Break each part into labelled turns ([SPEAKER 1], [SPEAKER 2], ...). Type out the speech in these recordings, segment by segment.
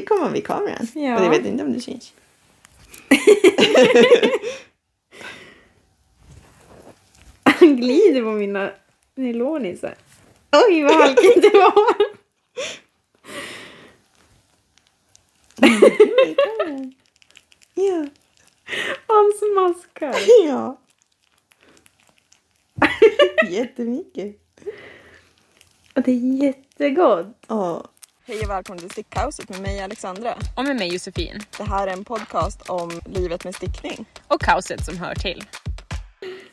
[SPEAKER 1] Det kommer vid kameran.
[SPEAKER 2] Ja.
[SPEAKER 1] Och det vet inte om det syns.
[SPEAKER 2] Han glider på mina nylonisar. Oj, vad halkigt det var.
[SPEAKER 1] Vid kameran. Ja.
[SPEAKER 2] Han smaskar.
[SPEAKER 1] Ja. Jättemycket.
[SPEAKER 2] Och det är jättegott.
[SPEAKER 1] Ja.
[SPEAKER 3] Hej och välkommen till Stickkaoset med mig Alexandra.
[SPEAKER 4] och med mig Josefin
[SPEAKER 3] Det här är en podcast om livet med stickning.
[SPEAKER 4] och kaoset som hör till.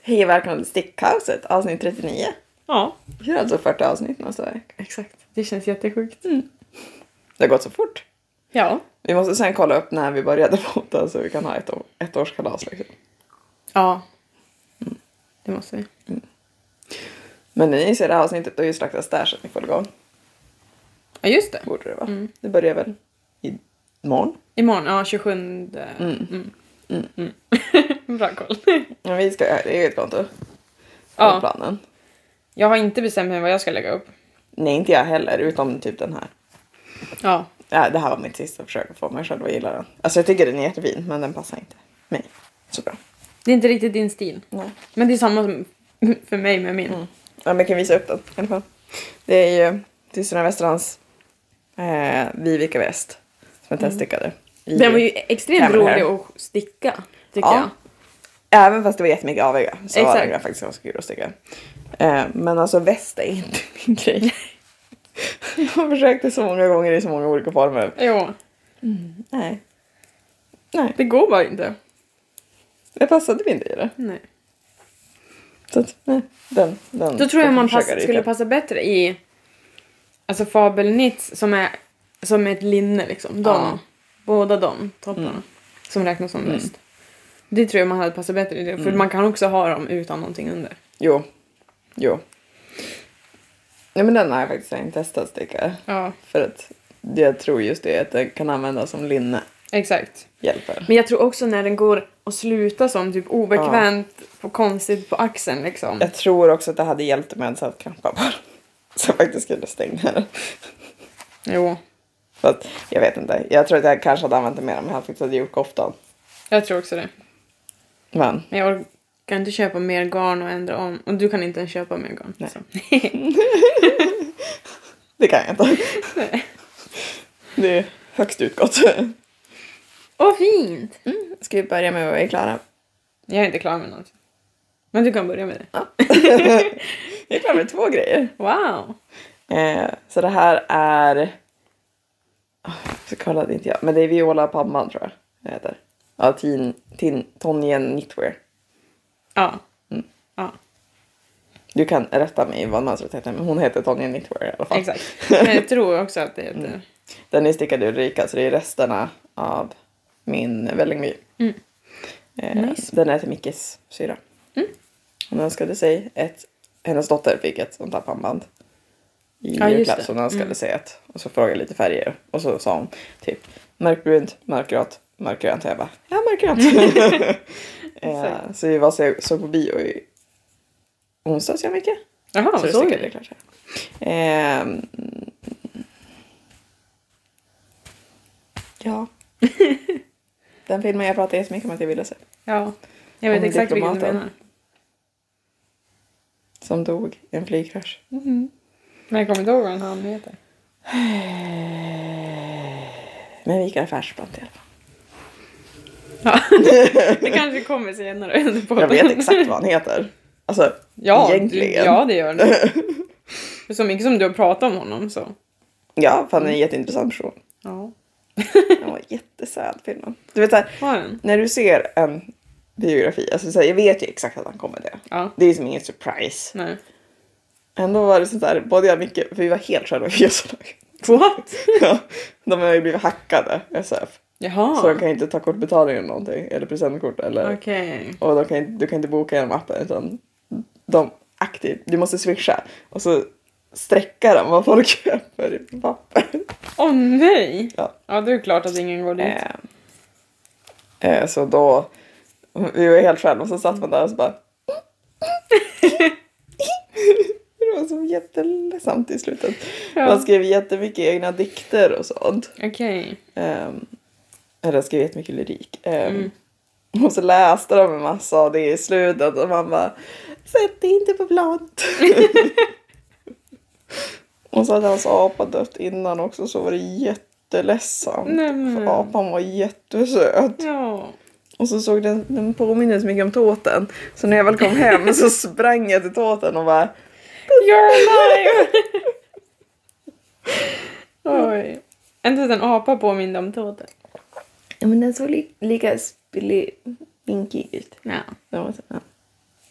[SPEAKER 1] Hej och välkomna till Stickkaoset avsnitt 39.
[SPEAKER 2] Ja.
[SPEAKER 1] Vi har alltså 40 avsnitt nästa vecka.
[SPEAKER 2] Exakt. Det känns jättesjukt.
[SPEAKER 1] Det har gått så fort.
[SPEAKER 2] Mm. Ja.
[SPEAKER 1] Vi måste sen kolla upp när vi började podda så vi kan ha ett, å- ett års kalas. Liksom.
[SPEAKER 2] Ja. Mm. Det måste vi.
[SPEAKER 1] Men när ni ser det här avsnittet då är ju Slaktas där så att ni får igång.
[SPEAKER 2] Ja, just det.
[SPEAKER 1] Borde det vara.
[SPEAKER 2] Mm.
[SPEAKER 1] Det börjar väl imorgon.
[SPEAKER 2] Imorgon, ja 27. Mm. Mm. Bra koll.
[SPEAKER 1] Men vi ska göra ett eget konto. Ja.
[SPEAKER 2] Ja,
[SPEAKER 1] planen.
[SPEAKER 2] jag har inte bestämt mig vad jag ska lägga upp.
[SPEAKER 1] Nej, inte jag heller, utom typ den här.
[SPEAKER 2] Ja.
[SPEAKER 1] Ja, det här var mitt sista försök att få mig själv att gilla den. Alltså jag tycker den är jättefin, men den passar inte mig så bra.
[SPEAKER 2] Det är inte riktigt din stil.
[SPEAKER 1] Nej.
[SPEAKER 2] Men det är samma som för mig med min.
[SPEAKER 1] Ja, men jag kan visa upp den i alla fall. Det är ju Systrarna Västerlands eh, Vivica Väst som är teststickade. i-
[SPEAKER 2] Mm. Den var ju extremt
[SPEAKER 1] Camel hair.
[SPEAKER 2] rolig att sticka, tycker
[SPEAKER 1] Ja.
[SPEAKER 2] jag.
[SPEAKER 1] Även fast det var jättemycket aviga så var
[SPEAKER 2] Exakt.
[SPEAKER 1] det faktiskt ganska kul att sticka. Eh, men alltså väst är inte min grej. jag har försökt det så många gånger i så många olika former.
[SPEAKER 2] Jo,
[SPEAKER 1] Nej. Nej,
[SPEAKER 2] det går bara inte.
[SPEAKER 1] det passade inte i det.
[SPEAKER 2] Nej.
[SPEAKER 1] Så att, nej. Den, den.
[SPEAKER 2] Då tror jag
[SPEAKER 1] Mm. får
[SPEAKER 2] man
[SPEAKER 1] försöka
[SPEAKER 2] pass,
[SPEAKER 1] rita.
[SPEAKER 2] skulle passa bättre i alltså fabelnits som är som är ett linne liksom. De,
[SPEAKER 1] Ja. Mm.
[SPEAKER 2] Båda de topparna som räknas som väst. Det tror jag man hade passat bättre i det. För
[SPEAKER 1] Mm.
[SPEAKER 2] man kan också ha dem utan någonting under.
[SPEAKER 1] Jo. Jo. Nej men den har jag faktiskt inte testat att sticka.
[SPEAKER 2] Ja,
[SPEAKER 1] För att jag tror just det att den kan användas som linne.
[SPEAKER 2] exakt.
[SPEAKER 1] Hjälper.
[SPEAKER 2] Men jag tror också när den går att sluta som typ obekvämt och konstigt på axeln liksom.
[SPEAKER 1] Jag tror också att det hade hjälpt om jag hade satt knappar på den. Så jag faktiskt skulle stänga den.
[SPEAKER 2] Jo,
[SPEAKER 1] För att, jag vet inte. Jag tror att jag kanske hade använt det mer om jag hade faktiskt hade gjort koftan.
[SPEAKER 2] jag tror också det.
[SPEAKER 1] Men.
[SPEAKER 2] Men jag orkar inte köpa mer garn och ändra om. Och du kan inte ens köpa mer garn.
[SPEAKER 1] Nej.
[SPEAKER 2] så.
[SPEAKER 1] Det kan jag inte. Det är högst utgått.
[SPEAKER 2] Åh, fint!
[SPEAKER 1] Mm, Ska vi börja med vad vi är klara?
[SPEAKER 2] Jag är inte klar med något. Men du kan börja med det.
[SPEAKER 1] Jag är klar med två grejer.
[SPEAKER 2] Wow!
[SPEAKER 1] Eh, så det här är... Ah, Så kollade inte jag. Men det är Viola Pamman tror jag den heter. Ja, tin, tin, Tonjen Knitwear.
[SPEAKER 2] Ja.
[SPEAKER 1] Mm.
[SPEAKER 2] Ja,
[SPEAKER 1] Du kan rätta mig vad mönstret heter, men hon heter Tonjen Knitwear i alla fall.
[SPEAKER 2] exakt. Men jag tror också att det eh, heter...
[SPEAKER 1] Mm. Den är stickad i Ulrika, så det är resterna av min Vällingby.
[SPEAKER 2] Mm.
[SPEAKER 1] Eh, Den är till Mickes syrra.
[SPEAKER 2] Mm.
[SPEAKER 1] Hon önskade sig ett... Hennes dotter fick ett sånt här pannband. I
[SPEAKER 2] Ja, just
[SPEAKER 1] julklapp
[SPEAKER 2] det. Mm.
[SPEAKER 1] så hon önskade sig ett. Och så frågade jag lite färger. Och så sa hon typ mörkbrunt, mörkgrått, mörkgrönt. Och jag bara ja mörkgrönt. eh, så vi var så, såg på bio i onsdags jag mycket.
[SPEAKER 2] Jaha,
[SPEAKER 1] så
[SPEAKER 2] så
[SPEAKER 1] det stickade
[SPEAKER 2] det.
[SPEAKER 1] jag klart. Ehm, ja. Den filmen jag pratade jättemycket om att jag ville se.
[SPEAKER 2] Ja. Jag vet
[SPEAKER 1] Om
[SPEAKER 2] exakt vilken du
[SPEAKER 1] diplomaten.
[SPEAKER 2] menar.
[SPEAKER 1] Som dog i en flygkrasch.
[SPEAKER 2] Men jag kommer inte ihåg vad han heter.
[SPEAKER 1] Men vi gick i affärsbrant i alla fall.
[SPEAKER 2] Det kanske kommer senare under
[SPEAKER 1] Jag
[SPEAKER 2] podden.
[SPEAKER 1] vet exakt vad han heter. Alltså,
[SPEAKER 2] ja,
[SPEAKER 1] egentligen.
[SPEAKER 2] Ja, det gör det. För så mycket som du har pratat om honom så...
[SPEAKER 1] Ja, för han är en jätteintressant person.
[SPEAKER 2] Ja.
[SPEAKER 1] Han var jättesöt filmen. Du vet såhär,
[SPEAKER 2] Var den?
[SPEAKER 1] när du ser en biografi, alltså så här, jag vet ju exakt att han kommer det.
[SPEAKER 2] Ja.
[SPEAKER 1] Det är som ingen surprise.
[SPEAKER 2] Nej.
[SPEAKER 1] Ändå var det sådär, både jag och Micke, för vi var helt själva i Götalag.
[SPEAKER 2] What?
[SPEAKER 1] Ja, de har ju blivit hackade, SF.
[SPEAKER 2] Jaha.
[SPEAKER 1] Så de kan ju inte ta kortbetalning eller någonting, eller presentkort. Eller,
[SPEAKER 2] Ah. Okej.
[SPEAKER 1] Och de kan, ju- du kan inte boka genom appen utan de aktivt, du måste swisha. Och så sträcka dem vad folk köper i papper.
[SPEAKER 2] Åh nej!
[SPEAKER 1] Ja.
[SPEAKER 2] Ja, det är klart att ingen går dit.
[SPEAKER 1] Eh, eh, så då, vi var helt själva och så satt man där och så bara... var så jätteledsamt i slutet.
[SPEAKER 2] Ja.
[SPEAKER 1] Man skrev jättemycket egna dikter och sånt.
[SPEAKER 2] Okej.
[SPEAKER 1] Um, eller skrev jättemycket lyrik. Ehm,
[SPEAKER 2] Mm.
[SPEAKER 1] Och så läste de en massa av det i slutet och man bara Sätt det inte på blad. och så hade hans apa dött innan också så var det jätteledsamt.
[SPEAKER 2] Nej, men.
[SPEAKER 1] För apan var jättesöt.
[SPEAKER 2] Ja.
[SPEAKER 1] Och så såg den, den påminner så mycket om tåten. Så när jag väl kom hem så sprang jag till tåten och bara
[SPEAKER 2] You're alive! Oj. Inte ens en apa påminde om Tote.
[SPEAKER 1] Ja men den såg li- lika spillvinkig ut.
[SPEAKER 2] Ja,
[SPEAKER 1] Den var så- Ja.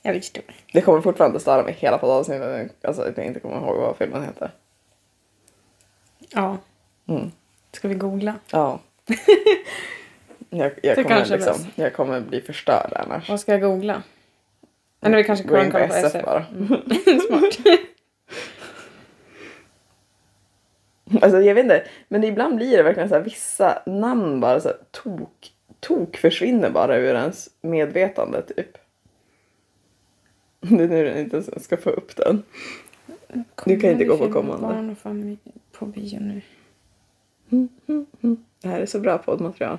[SPEAKER 2] jag förstår.
[SPEAKER 1] Det kommer fortfarande störa mig hela potatisnivån. Alltså att jag inte kommer ihåg vad filmen heter.
[SPEAKER 2] Ja.
[SPEAKER 1] Mm.
[SPEAKER 2] Ska vi googla?
[SPEAKER 1] Ja. Jag, jag,
[SPEAKER 2] Det
[SPEAKER 1] kommer
[SPEAKER 2] kanske är
[SPEAKER 1] liksom,
[SPEAKER 2] bäst.
[SPEAKER 1] jag kommer bli förstörd annars.
[SPEAKER 2] Vad ska jag googla? Eller vi kanske
[SPEAKER 1] Gå in
[SPEAKER 2] kan
[SPEAKER 1] på
[SPEAKER 2] kolla på
[SPEAKER 1] SF,
[SPEAKER 2] SF.
[SPEAKER 1] bara.
[SPEAKER 2] Smart.
[SPEAKER 1] Alltså jag vet inte, men ibland blir det verkligen så här vissa namn bara så här, tok, tok försvinner bara ur ens medvetande typ. Det är nu den inte ens ska få upp den. Du kan inte gå på kommande.
[SPEAKER 2] Barn och familj på bio nu.
[SPEAKER 1] Mm. Det här är så bra poddmaterial.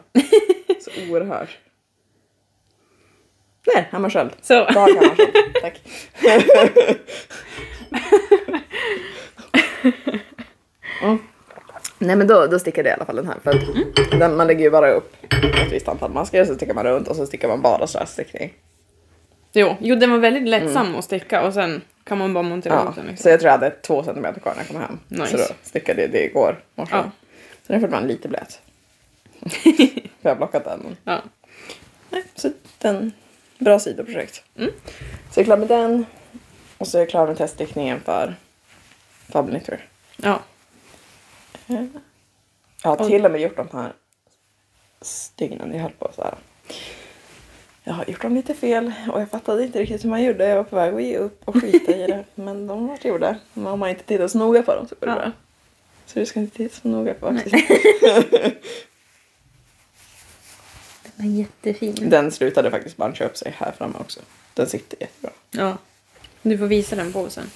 [SPEAKER 1] Så oerhört. Där, Hammarskjöld.
[SPEAKER 2] Så.
[SPEAKER 1] Dag Hammarskjöld. Tack. Mm. Nej men då, då stickar det i alla fall den här. För att den, man lägger ju bara upp ett visst antal masker så stickar man runt och så stickar man bara straffstickning.
[SPEAKER 2] Jo, jo, den var väldigt lättsam att sticka och sen kan man bara montera
[SPEAKER 1] Ja,
[SPEAKER 2] ihop den.
[SPEAKER 1] så
[SPEAKER 2] Liksom.
[SPEAKER 1] jag tror jag hade två centimeter kvar när jag kom hem.
[SPEAKER 2] Nice.
[SPEAKER 1] Så då stickade jag det igår morse.
[SPEAKER 2] Ja.
[SPEAKER 1] Så den är fortfarande lite blöt. för jag har blockat den. men-
[SPEAKER 2] Ja.
[SPEAKER 1] Nej, så den, bra sidoprojekt. Så jag är klar med den. Och så är jag klar med teststickningen för Fab Knitwear.
[SPEAKER 2] ja.
[SPEAKER 1] Jag har
[SPEAKER 2] Och-
[SPEAKER 1] till och med gjort de här stygnen jag höll på så här. Jag har gjort dem lite fel och jag fattade inte riktigt hur man gjorde. Jag var på väg att ge upp och skita i det. Men de var gjorda. Men om man inte tittar så noga på dem så går det
[SPEAKER 2] Ja.
[SPEAKER 1] bra. Så du ska inte titta så noga på
[SPEAKER 2] Den var jättefin.
[SPEAKER 1] Den slutade faktiskt buncha upp sig här framme också. Den sitter jättebra.
[SPEAKER 2] Ja. Du får visa den på oss sen.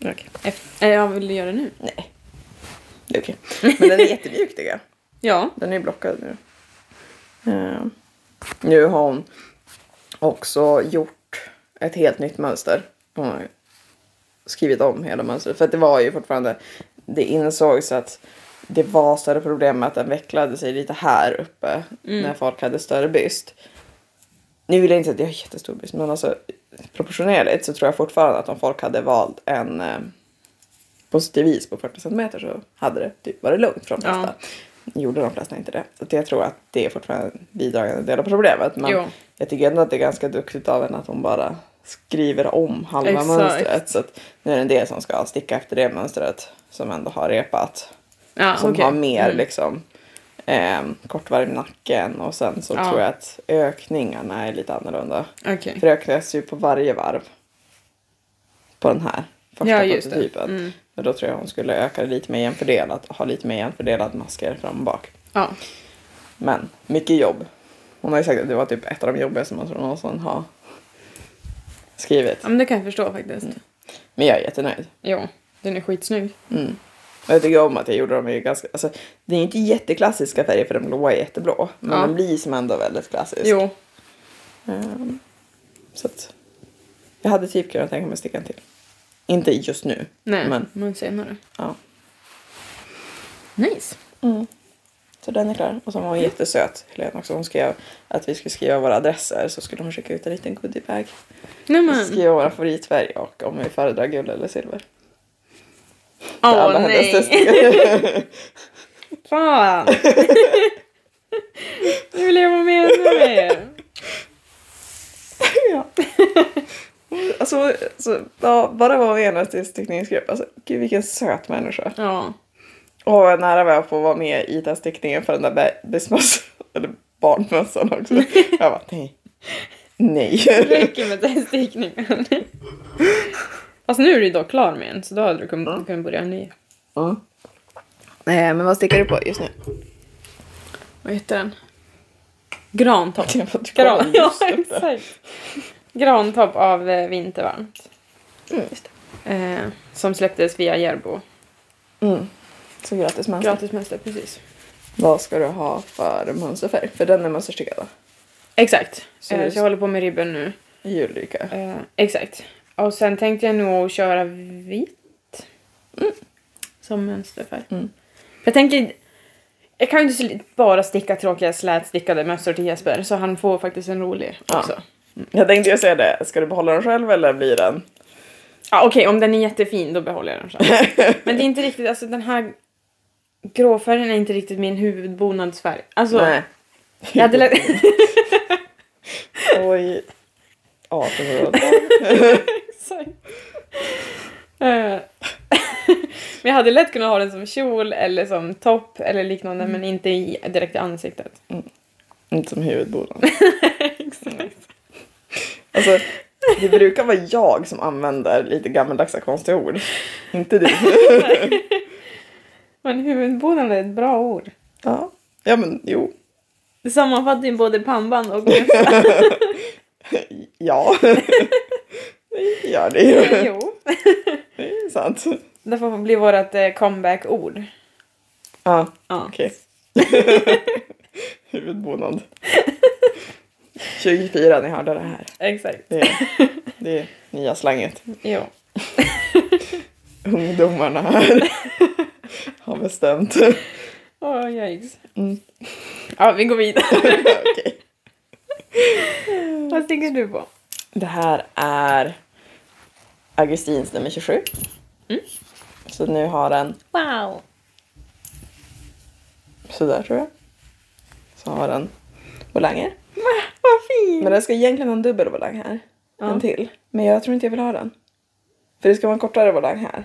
[SPEAKER 1] Okej.
[SPEAKER 2] Efter, eller jag vill du göra det nu?
[SPEAKER 1] Nej. Det är okej. Men den är jättemjuk tycker jag.
[SPEAKER 2] Ja.
[SPEAKER 1] Den är blockad nu. Eh, nu har hon också gjort ett helt nytt mönster. Hon har skrivit om hela mönstret. För att det var ju fortfarande, det insågs att det var större problem med att den vecklade sig lite här uppe när folk hade större byst. Nu vill jag inte säga att jag har jättestor byst men alltså proportionerligt så tror jag fortfarande att om folk hade valt en eh, positivis på 40 cm så hade det typ varit lugnt för de
[SPEAKER 2] Ja.
[SPEAKER 1] flesta. Gjorde de flesta inte det. Så att jag tror att det är fortfarande en bidragande del av problemet. Men
[SPEAKER 2] Jo.
[SPEAKER 1] jag tycker ändå att det är ganska duktigt av henne att hon bara skriver om halva
[SPEAKER 2] Exakt.
[SPEAKER 1] mönstret. Så att nu är det en del som ska sticka efter det mönstret som ändå har repat.
[SPEAKER 2] ja
[SPEAKER 1] som
[SPEAKER 2] okej.
[SPEAKER 1] har mer
[SPEAKER 2] Mm.
[SPEAKER 1] liksom ehm, kortvarv i nacken och sen så
[SPEAKER 2] Ja.
[SPEAKER 1] tror jag att ökningarna är lite annorlunda.
[SPEAKER 2] Okej.
[SPEAKER 1] För det öknas ju på varje varv. På den här första
[SPEAKER 2] Ja, just det.
[SPEAKER 1] prototypen.
[SPEAKER 2] Mm.
[SPEAKER 1] Men då tror jag hon skulle öka det lite mer jämfördelat. Ha lite mer jämfördelat masker fram och bak.
[SPEAKER 2] Ja.
[SPEAKER 1] Men mycket jobb. Hon har ju sagt att det var typ ett av de jobbigaste man tror någonsin har skrivit.
[SPEAKER 2] ja, men det kan jag förstå faktiskt.
[SPEAKER 1] Mm. Men jag är jättenöjd.
[SPEAKER 2] Jo, den är skitsnygg.
[SPEAKER 1] Mm. Och jag tycker om att jag gjorde dem i ganska, alltså det är ju inte jätteklassiska färger för de blåa är jätteblå. Men
[SPEAKER 2] Ja.
[SPEAKER 1] de blir som ändå väldigt klassisk.
[SPEAKER 2] Jo.
[SPEAKER 1] Ehm, så att jag hade typ kunnat tänka mig att sticka en till. Inte just nu.
[SPEAKER 2] Nej, men,
[SPEAKER 1] Men
[SPEAKER 2] senare.
[SPEAKER 1] ja.
[SPEAKER 2] Nice.
[SPEAKER 1] Så den är klar. Och så var hon jättesöt, Helena också. Hon skrev att vi skulle skriva våra adresser så skulle hon skicka ut en liten goodiebag.
[SPEAKER 2] Nej
[SPEAKER 1] Och
[SPEAKER 2] men.
[SPEAKER 1] Skriva våra favoritfärg och om vi föredrar guld eller silver. För
[SPEAKER 2] Åh
[SPEAKER 1] alla hennes
[SPEAKER 2] nej.
[SPEAKER 1] testningar.
[SPEAKER 2] Fan. Nu vill jag vara med ännu mer.
[SPEAKER 1] ja. Alltså, så, ja, bara vara med i hennes stickningsgrupp. Alltså, gud vilken söt människa.
[SPEAKER 2] Ja.
[SPEAKER 1] Och vad nära var jag på att vara med i den stickningen för den där be- besmössan, eller barnmössan också. Jag bara nej. Nej.
[SPEAKER 2] Det räcker med den stickningen. Fast nu är du ju dock klar med en så då hade du kunnat, kunnat börja en ny.
[SPEAKER 1] Ja. Nej, men vad stickar du på just nu?
[SPEAKER 2] Vad heter den? Grantopp.
[SPEAKER 1] Jag får inte kolla
[SPEAKER 2] Gran. Ja,
[SPEAKER 1] just upp det.
[SPEAKER 2] exakt. Grantopp av eh, Vintervarmt.
[SPEAKER 1] Mm, just det.
[SPEAKER 2] Eh, Som släpptes via Järbo.
[SPEAKER 1] Mm. Så grattis mönster.
[SPEAKER 2] Gratismönster, precis.
[SPEAKER 1] Vad ska du ha för mönsterfärg? För den är mönsterstickad va?
[SPEAKER 2] Exakt.
[SPEAKER 1] Så
[SPEAKER 2] Så, eh,
[SPEAKER 1] det-
[SPEAKER 2] så jag håller på med ribben nu.
[SPEAKER 1] Julrika.
[SPEAKER 2] Eh, exakt. Och sen tänkte jag nog köra vit. Som mönsterfärg.
[SPEAKER 1] Mm.
[SPEAKER 2] För jag tänker... Jag kan ju inte sli- bara sticka tråkiga slätstickade mössor till Jesper så han får faktiskt en rolig
[SPEAKER 1] Ja.
[SPEAKER 2] också.
[SPEAKER 1] Jag tänkte ju säga det. Ska du behålla den själv eller blir den?
[SPEAKER 2] Ja, Okej, om den är jättefin då behåller jag den så. Men det är inte riktigt, alltså den här gråfärgen är inte riktigt min huvudbonadsfärg. Alltså,
[SPEAKER 1] Nej.
[SPEAKER 2] jag hade lätt...
[SPEAKER 1] Oj. Ja, förlåt.
[SPEAKER 2] Sorry. Eh, men jag hade lätt kunnat ha den som kjol eller som topp eller liknande men inte i, direkt i ansiktet.
[SPEAKER 1] Inte som huvudbolan. Alltså, det brukar vara jag som använder lite gammaldagsa konstiga ord. Inte du.
[SPEAKER 2] Men huvudbonad är ett bra ord.
[SPEAKER 1] Ja, ja men jo.
[SPEAKER 2] Det sammanfattar ju både pannband och
[SPEAKER 1] Ja. Det gör det ju.
[SPEAKER 2] jo.
[SPEAKER 1] Det är sant.
[SPEAKER 2] Det får bli vårt eh, comeback-ord.
[SPEAKER 1] Ja,
[SPEAKER 2] Ja.
[SPEAKER 1] okej. Huvudbonad. 24, ni hörde det här.
[SPEAKER 2] Exakt.
[SPEAKER 1] Det är, det är nya slanget.
[SPEAKER 2] Jo.
[SPEAKER 1] Ungdomarna här har bestämt.
[SPEAKER 2] Åh, yikes.
[SPEAKER 1] Mm.
[SPEAKER 2] Ja, vi går vidare.
[SPEAKER 1] Okej.
[SPEAKER 2] Vad tänker du på?
[SPEAKER 1] Det här är Augustins nummer 27. Mm. Så nu har den
[SPEAKER 4] Wow!
[SPEAKER 1] sådär tror jag. Så har den volanger.
[SPEAKER 2] Vad fint!
[SPEAKER 1] Men den ska egentligen ha en dubbel volang här.
[SPEAKER 2] Ja.
[SPEAKER 1] En till. Men jag tror inte jag vill ha den. För det ska vara en kortare volang här.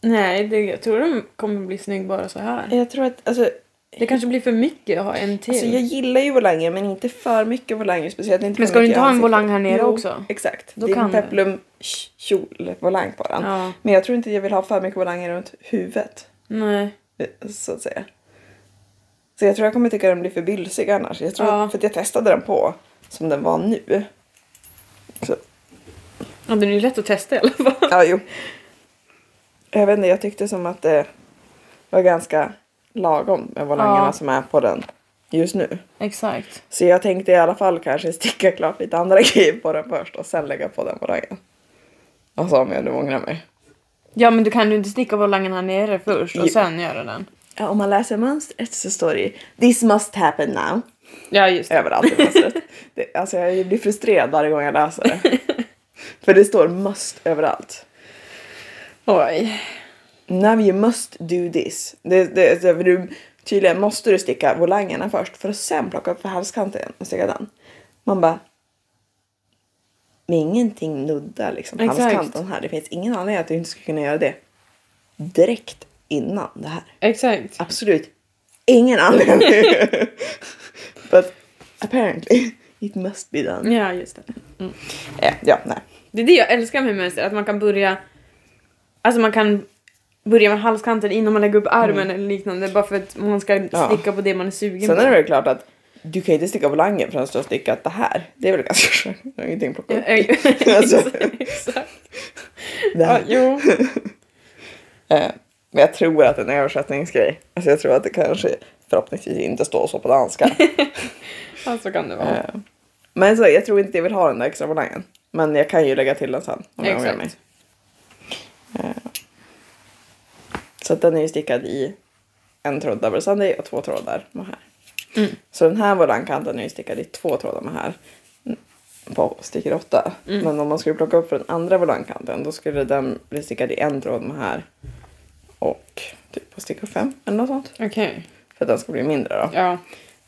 [SPEAKER 2] Nej, det, jag tror de kommer bli snygg bara så här.
[SPEAKER 1] Jag tror att, alltså,
[SPEAKER 2] Det kanske blir för mycket att ha en till.
[SPEAKER 1] alltså jag gillar ju volanger men inte för mycket volanger. Speciellt inte
[SPEAKER 2] Men
[SPEAKER 1] för
[SPEAKER 2] ska du
[SPEAKER 1] mycket
[SPEAKER 2] inte
[SPEAKER 1] i
[SPEAKER 2] ha en
[SPEAKER 1] ansiktet.
[SPEAKER 2] volang här nere
[SPEAKER 1] jo,
[SPEAKER 2] också?
[SPEAKER 1] exakt.
[SPEAKER 2] Då
[SPEAKER 1] det är
[SPEAKER 2] kan
[SPEAKER 1] en
[SPEAKER 2] du.
[SPEAKER 1] peplum kjolvolang på den.
[SPEAKER 2] Ja.
[SPEAKER 1] Men jag tror inte jag vill ha för mycket volanger runt huvudet.
[SPEAKER 2] Nej.
[SPEAKER 1] så att säga. Så jag tror jag kommer tycka den blir för bylsig annars. Jag tror,
[SPEAKER 2] Ja.
[SPEAKER 1] För att jag testade den på som den var nu. Så,
[SPEAKER 2] Ja, den är ju lätt att testa i alla fall.
[SPEAKER 1] ja, jo. Jag vet inte, jag tyckte som att det var ganska lagom med volangerna
[SPEAKER 2] Ja.
[SPEAKER 1] som är på den just nu.
[SPEAKER 2] Exakt.
[SPEAKER 1] Så jag tänkte i alla fall kanske sticka klart lite andra grejer på den först och sen lägga på den volangen. Alltså om jag nu ångrar mig.
[SPEAKER 2] Ja, men du kan ju inte sticka volangen här nere först och
[SPEAKER 1] Jo.
[SPEAKER 2] sen göra den.
[SPEAKER 1] Ja, om man läser mönstret så står det ju “This must happen now”.
[SPEAKER 2] Ja, just det.
[SPEAKER 1] överallt i mönstret. Det, alltså jag blir frustrerad varje gång jag läser det. För det står must överallt.
[SPEAKER 2] Oj.
[SPEAKER 1] Now you must do this. Det, det, det, för du, tydligen måste du sticka volangerna först för att sen plocka upp halskanten och sticka den. Man bara... Men ingenting nuddar liksom
[SPEAKER 2] Exakt.
[SPEAKER 1] halskanten här. Det finns ingen anledning att du inte skulle kunna göra det direkt innan det här.
[SPEAKER 2] Exakt.
[SPEAKER 1] Absolut ingen anledning. But apparently it must be done.
[SPEAKER 2] Ja, just det.
[SPEAKER 1] Eh, ja, nej.
[SPEAKER 2] Det är det jag älskar med mönster, att man kan börja... Alltså man kan börja med halskanten innan man lägger upp armen eller liknande bara för att man ska
[SPEAKER 1] Ja.
[SPEAKER 2] sticka på det man Mm. är sugen
[SPEAKER 1] Sen
[SPEAKER 2] på.
[SPEAKER 1] är det väl klart att du kan ju inte sticka volangen förrän du har stickat det här. Det är väl ganska skönt. Jag har ingenting att plocka upp. Alltså.
[SPEAKER 2] Exakt.
[SPEAKER 1] Det
[SPEAKER 2] Ja,
[SPEAKER 1] här.
[SPEAKER 2] jo.
[SPEAKER 1] Eh, Men jag tror att det är en översättningsgrej. Alltså jag tror att det kanske förhoppningsvis inte står så på danska.
[SPEAKER 2] Ja, så kan det vara.
[SPEAKER 1] Eh, Men så, jag tror inte jag vill ha den där extra volangen. Men jag kan ju lägga till den sen om jag ångrar mig.
[SPEAKER 2] Exakt.
[SPEAKER 1] Eh, Så att den är ju stickad i en tråd double sunday och två trådar mohair.
[SPEAKER 2] Mm.
[SPEAKER 1] Så den här volangkanten är ju stickad i två trådar mohair på sticker 8.
[SPEAKER 2] Mm.
[SPEAKER 1] Men om man skulle plocka upp för den andra volangkanten då skulle den bli stickad i en tråd mohair och typ på sticker 5 eller något sånt.
[SPEAKER 2] Okej.
[SPEAKER 1] För att den ska bli mindre då.
[SPEAKER 2] Ja.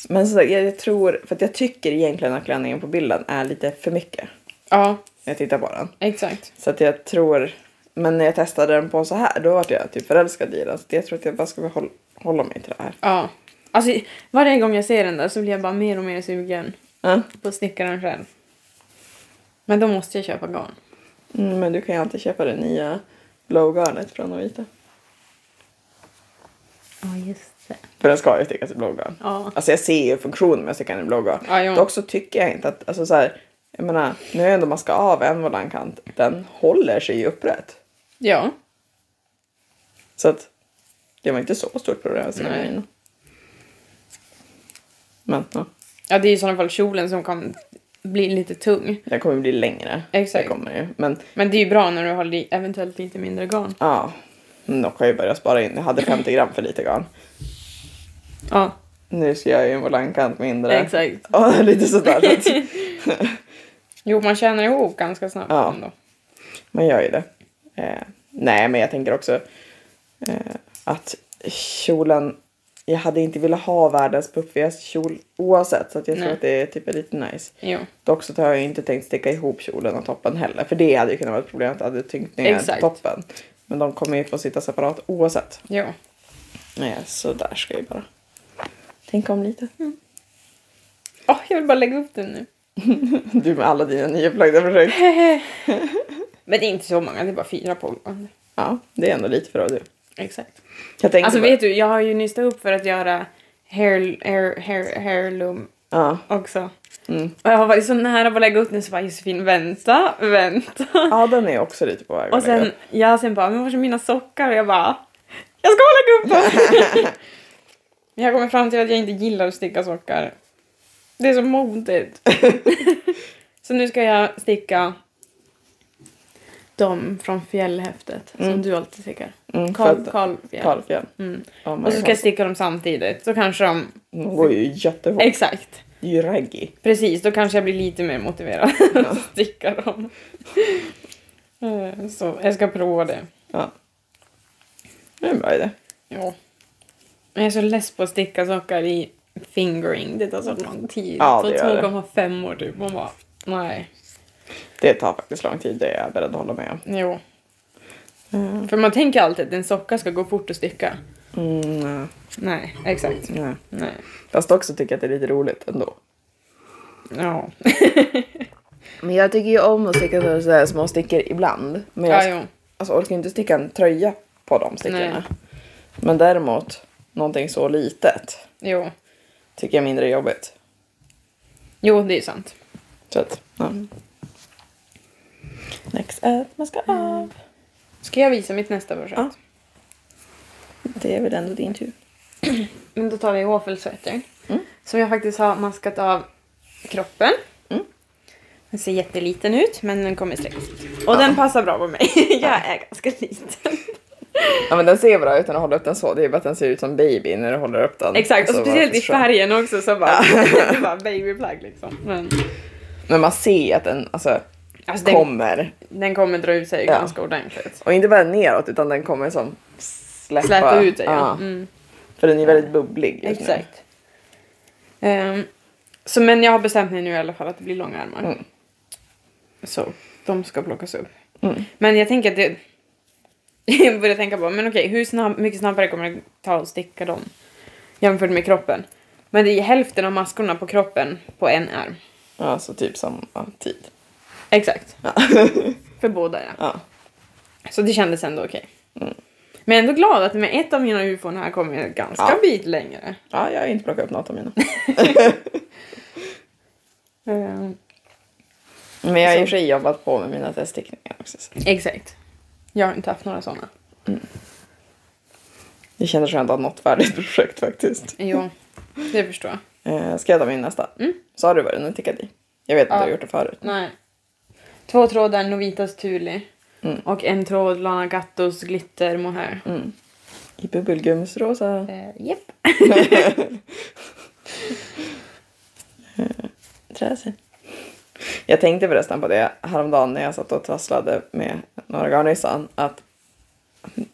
[SPEAKER 1] Men så jag, jag tror, för att jag tycker egentligen att klänningen på bilden är lite för mycket.
[SPEAKER 2] Ja,
[SPEAKER 1] När jag tittar på den.
[SPEAKER 2] exakt.
[SPEAKER 1] Så att jag tror, men när jag testade den på så här då var jag typ förälskad i den. Så jag tror att jag bara ska hålla, hålla mig till det här.
[SPEAKER 2] Ja. Alltså varje gång jag ser den där så blir jag bara mer och mer sugen
[SPEAKER 1] Ja.
[SPEAKER 2] på att snickra den själv. Men då måste jag köpa garn.
[SPEAKER 1] Mm, men du kan ju alltid köpa det nya blågarnet från Novita.
[SPEAKER 2] Ja, just det.
[SPEAKER 1] För den ska ju stickas i blågarn.
[SPEAKER 2] Ja.
[SPEAKER 1] Alltså jag ser ju funktionen med att sticka den i blågarn.
[SPEAKER 2] Ja, jo.
[SPEAKER 1] Dock så tycker jag inte att, alltså så här, Jag menar, nu har jag ändå maskat av en volankant. Den håller sig ju upprätt.
[SPEAKER 2] Ja.
[SPEAKER 1] Så att det var inte så stort problem med sina
[SPEAKER 2] Nej.
[SPEAKER 1] grejerna. Men ja,
[SPEAKER 2] Ja, det är i sådana fall kjolen som kan bli lite tung.
[SPEAKER 1] den kommer bli längre.
[SPEAKER 2] Exakt.
[SPEAKER 1] Det kommer ju. Men
[SPEAKER 2] Men det är ju bra när du har li- eventuellt lite mindre garn.
[SPEAKER 1] ja, dock har jag ju börjat spara in. Jag hade 50 gram för lite garn.
[SPEAKER 2] Ja,
[SPEAKER 1] Nu ska jag ju en volankant mindre.
[SPEAKER 2] exakt.
[SPEAKER 1] Ja, lite sådär. Så att
[SPEAKER 2] Jo, man tjänar ihop ganska snabbt
[SPEAKER 1] Ja.
[SPEAKER 2] ändå.
[SPEAKER 1] man gör ju det. Eh, nej, men jag tänker också eh, att kjolen... Jag hade inte velat ha världens puffigaste kjol oavsett. Så att jag tror
[SPEAKER 2] Nej.
[SPEAKER 1] att det är typ är lite nice.
[SPEAKER 2] Jo,
[SPEAKER 1] Dock så har jag inte tänkt sticka ihop kjolen och toppen heller. För det hade ju kunnat vara ett problem att jag hade tyngt ner
[SPEAKER 2] Exakt.
[SPEAKER 1] toppen. Men de kommer ju få sitta separat oavsett.
[SPEAKER 2] jo.
[SPEAKER 1] Nej, så där ska jag ju bara tänka om lite.
[SPEAKER 2] Mm. Åh, jag vill bara lägga upp den nu.
[SPEAKER 1] Du med alla dina nya plagda projekt.
[SPEAKER 2] Men det är inte så många, det är bara fyra pågående.
[SPEAKER 1] Ja, det är ändå lite för att du.
[SPEAKER 2] Exakt.
[SPEAKER 1] Jag tänkte
[SPEAKER 2] Alltså
[SPEAKER 1] bara,
[SPEAKER 2] vet du, jag har ju nystat upp för att göra hair, hair, hair, hairloom
[SPEAKER 1] Ja,
[SPEAKER 2] också.
[SPEAKER 1] mm.
[SPEAKER 2] Och jag har varit så nära på att lägga upp den så bara Josefin vänta, vänta.
[SPEAKER 1] ja, den är också lite på väg
[SPEAKER 2] Och
[SPEAKER 1] att lägga
[SPEAKER 2] sen,
[SPEAKER 1] upp.
[SPEAKER 2] ja, sen bara, men var är mina sockar? Och jag bara, jag ska lägga upp dem! Men jag kommer fram till att jag inte gillar att sticka sockar. Det är så modigt. så nu ska jag sticka dem från fjällhäftet som
[SPEAKER 1] Mm.
[SPEAKER 2] du alltid stickar.
[SPEAKER 1] Mm, för
[SPEAKER 2] Karl,
[SPEAKER 1] att-
[SPEAKER 2] Karl, fjäll.
[SPEAKER 1] Karlfjäll.
[SPEAKER 2] Mm.
[SPEAKER 1] Oh my
[SPEAKER 2] Och så ska jag
[SPEAKER 1] God.
[SPEAKER 2] sticka dem samtidigt. Så kanske de...
[SPEAKER 1] De går ju jättefort.
[SPEAKER 2] Exakt.
[SPEAKER 1] Det är ju raggy.
[SPEAKER 2] Precis, då kanske jag blir lite mer motiverad att sticka dem. Eh, så jag ska prova det.
[SPEAKER 1] Ja. Det är en bra idé.
[SPEAKER 2] Ja. Jag är så less på att sticka sockar i fingering. Det tar så lång tid.
[SPEAKER 1] Ja,
[SPEAKER 2] På
[SPEAKER 1] det gör det.
[SPEAKER 2] 2,5 år typ. Man bara, nej.
[SPEAKER 1] Det tar faktiskt lång tid, det är jag beredd att hålla med om.
[SPEAKER 2] Jo.
[SPEAKER 1] Mm.
[SPEAKER 2] För man tänker alltid att en socka ska gå fort att sticka.
[SPEAKER 1] Mm, nej,
[SPEAKER 2] Nej, exakt.
[SPEAKER 1] nej.
[SPEAKER 2] Nej.
[SPEAKER 1] Fast också tycker jag att det är lite roligt ändå.
[SPEAKER 2] Ja.
[SPEAKER 1] Men jag tycker ju om att sticka så- så här små stickor ibland. Men jag
[SPEAKER 2] Ja, jo.
[SPEAKER 1] alltså, orkar ju inte sticka en tröja på de stickorna.
[SPEAKER 2] Nej.
[SPEAKER 1] Men däremot, någonting så litet
[SPEAKER 2] Jo.
[SPEAKER 1] tycker jag är mindre jobbigt.
[SPEAKER 2] Jo, det är sant.
[SPEAKER 1] Så att, ja. Next att man ska av.
[SPEAKER 2] Ska jag visa mitt nästa projekt?
[SPEAKER 1] Ja. Det är väl ändå din tur.
[SPEAKER 2] Men då tar vi våffelsvetter. Som jag faktiskt har maskat av kroppen.
[SPEAKER 1] Mm.
[SPEAKER 2] Den ser jätteliten ut, men den kommer strax. Och den passar bra på mig. jag är ganska liten.
[SPEAKER 1] Ja men den ser bra ut när du håller upp den så. Det är bara att den ser ut som baby när du håller upp den.
[SPEAKER 2] Exakt, och
[SPEAKER 1] Så bara
[SPEAKER 2] speciellt i
[SPEAKER 1] försvann.
[SPEAKER 2] färgen också så bara, det är bara babyplagg liksom. Men,
[SPEAKER 1] Men man ser att den alltså,
[SPEAKER 2] alltså den,
[SPEAKER 1] kommer.
[SPEAKER 2] den kommer dra ut sig
[SPEAKER 1] Ja.
[SPEAKER 2] ganska ordentligt.
[SPEAKER 1] Och inte bara neråt utan den kommer som släppa.
[SPEAKER 2] Släta ut sig ja.
[SPEAKER 1] Ja,
[SPEAKER 2] Mm,
[SPEAKER 1] För den är väldigt bubblig just nu.
[SPEAKER 2] exakt. Ehm, så men jag har bestämt mig nu i alla fall att det blir långa armar.
[SPEAKER 1] Mm.
[SPEAKER 2] Så de ska plockas upp.
[SPEAKER 1] Mm.
[SPEAKER 2] Men jag tänker att det... Jag började tänka på, men okej, hur snabb, mycket snabbare kommer det ta att sticka dem jämfört med kroppen? Men det är hälften av maskorna på kroppen på en arm.
[SPEAKER 1] Ja, så typ samma tid.
[SPEAKER 2] Exakt.
[SPEAKER 1] Ja.
[SPEAKER 2] För båda ja.
[SPEAKER 1] ja.
[SPEAKER 2] Så det kändes ändå okej. Men jag är ändå glad att med ett av mina ufon här kommer jag ganska
[SPEAKER 1] Ja.
[SPEAKER 2] bit längre.
[SPEAKER 1] ja, jag har inte plockat upp något av mina.
[SPEAKER 2] Eh,
[SPEAKER 1] Men jag har i och för sig jobbat på med mina teststickningar också. Så.
[SPEAKER 2] exakt. Jag har inte haft några sådana.
[SPEAKER 1] Det känns skönt att ha något färdigt projekt faktiskt.
[SPEAKER 2] Jo, det förstår jag.
[SPEAKER 1] Eh, ska jag ta min nästa? Sa du vad den är tickad i? Jag vet att
[SPEAKER 2] Mm. Ja.
[SPEAKER 1] du har gjort det förut.
[SPEAKER 2] Nej. Två trådar Novitas Thule
[SPEAKER 1] Mm.
[SPEAKER 2] och en tråd Lana Gattos glitter mohair.
[SPEAKER 1] Mm. I bubbelgumsrosa.
[SPEAKER 2] Eh, Japp.
[SPEAKER 1] Träsig. Jag tänkte förresten på det häromdagen när jag satt och trasslade med några garnnystan att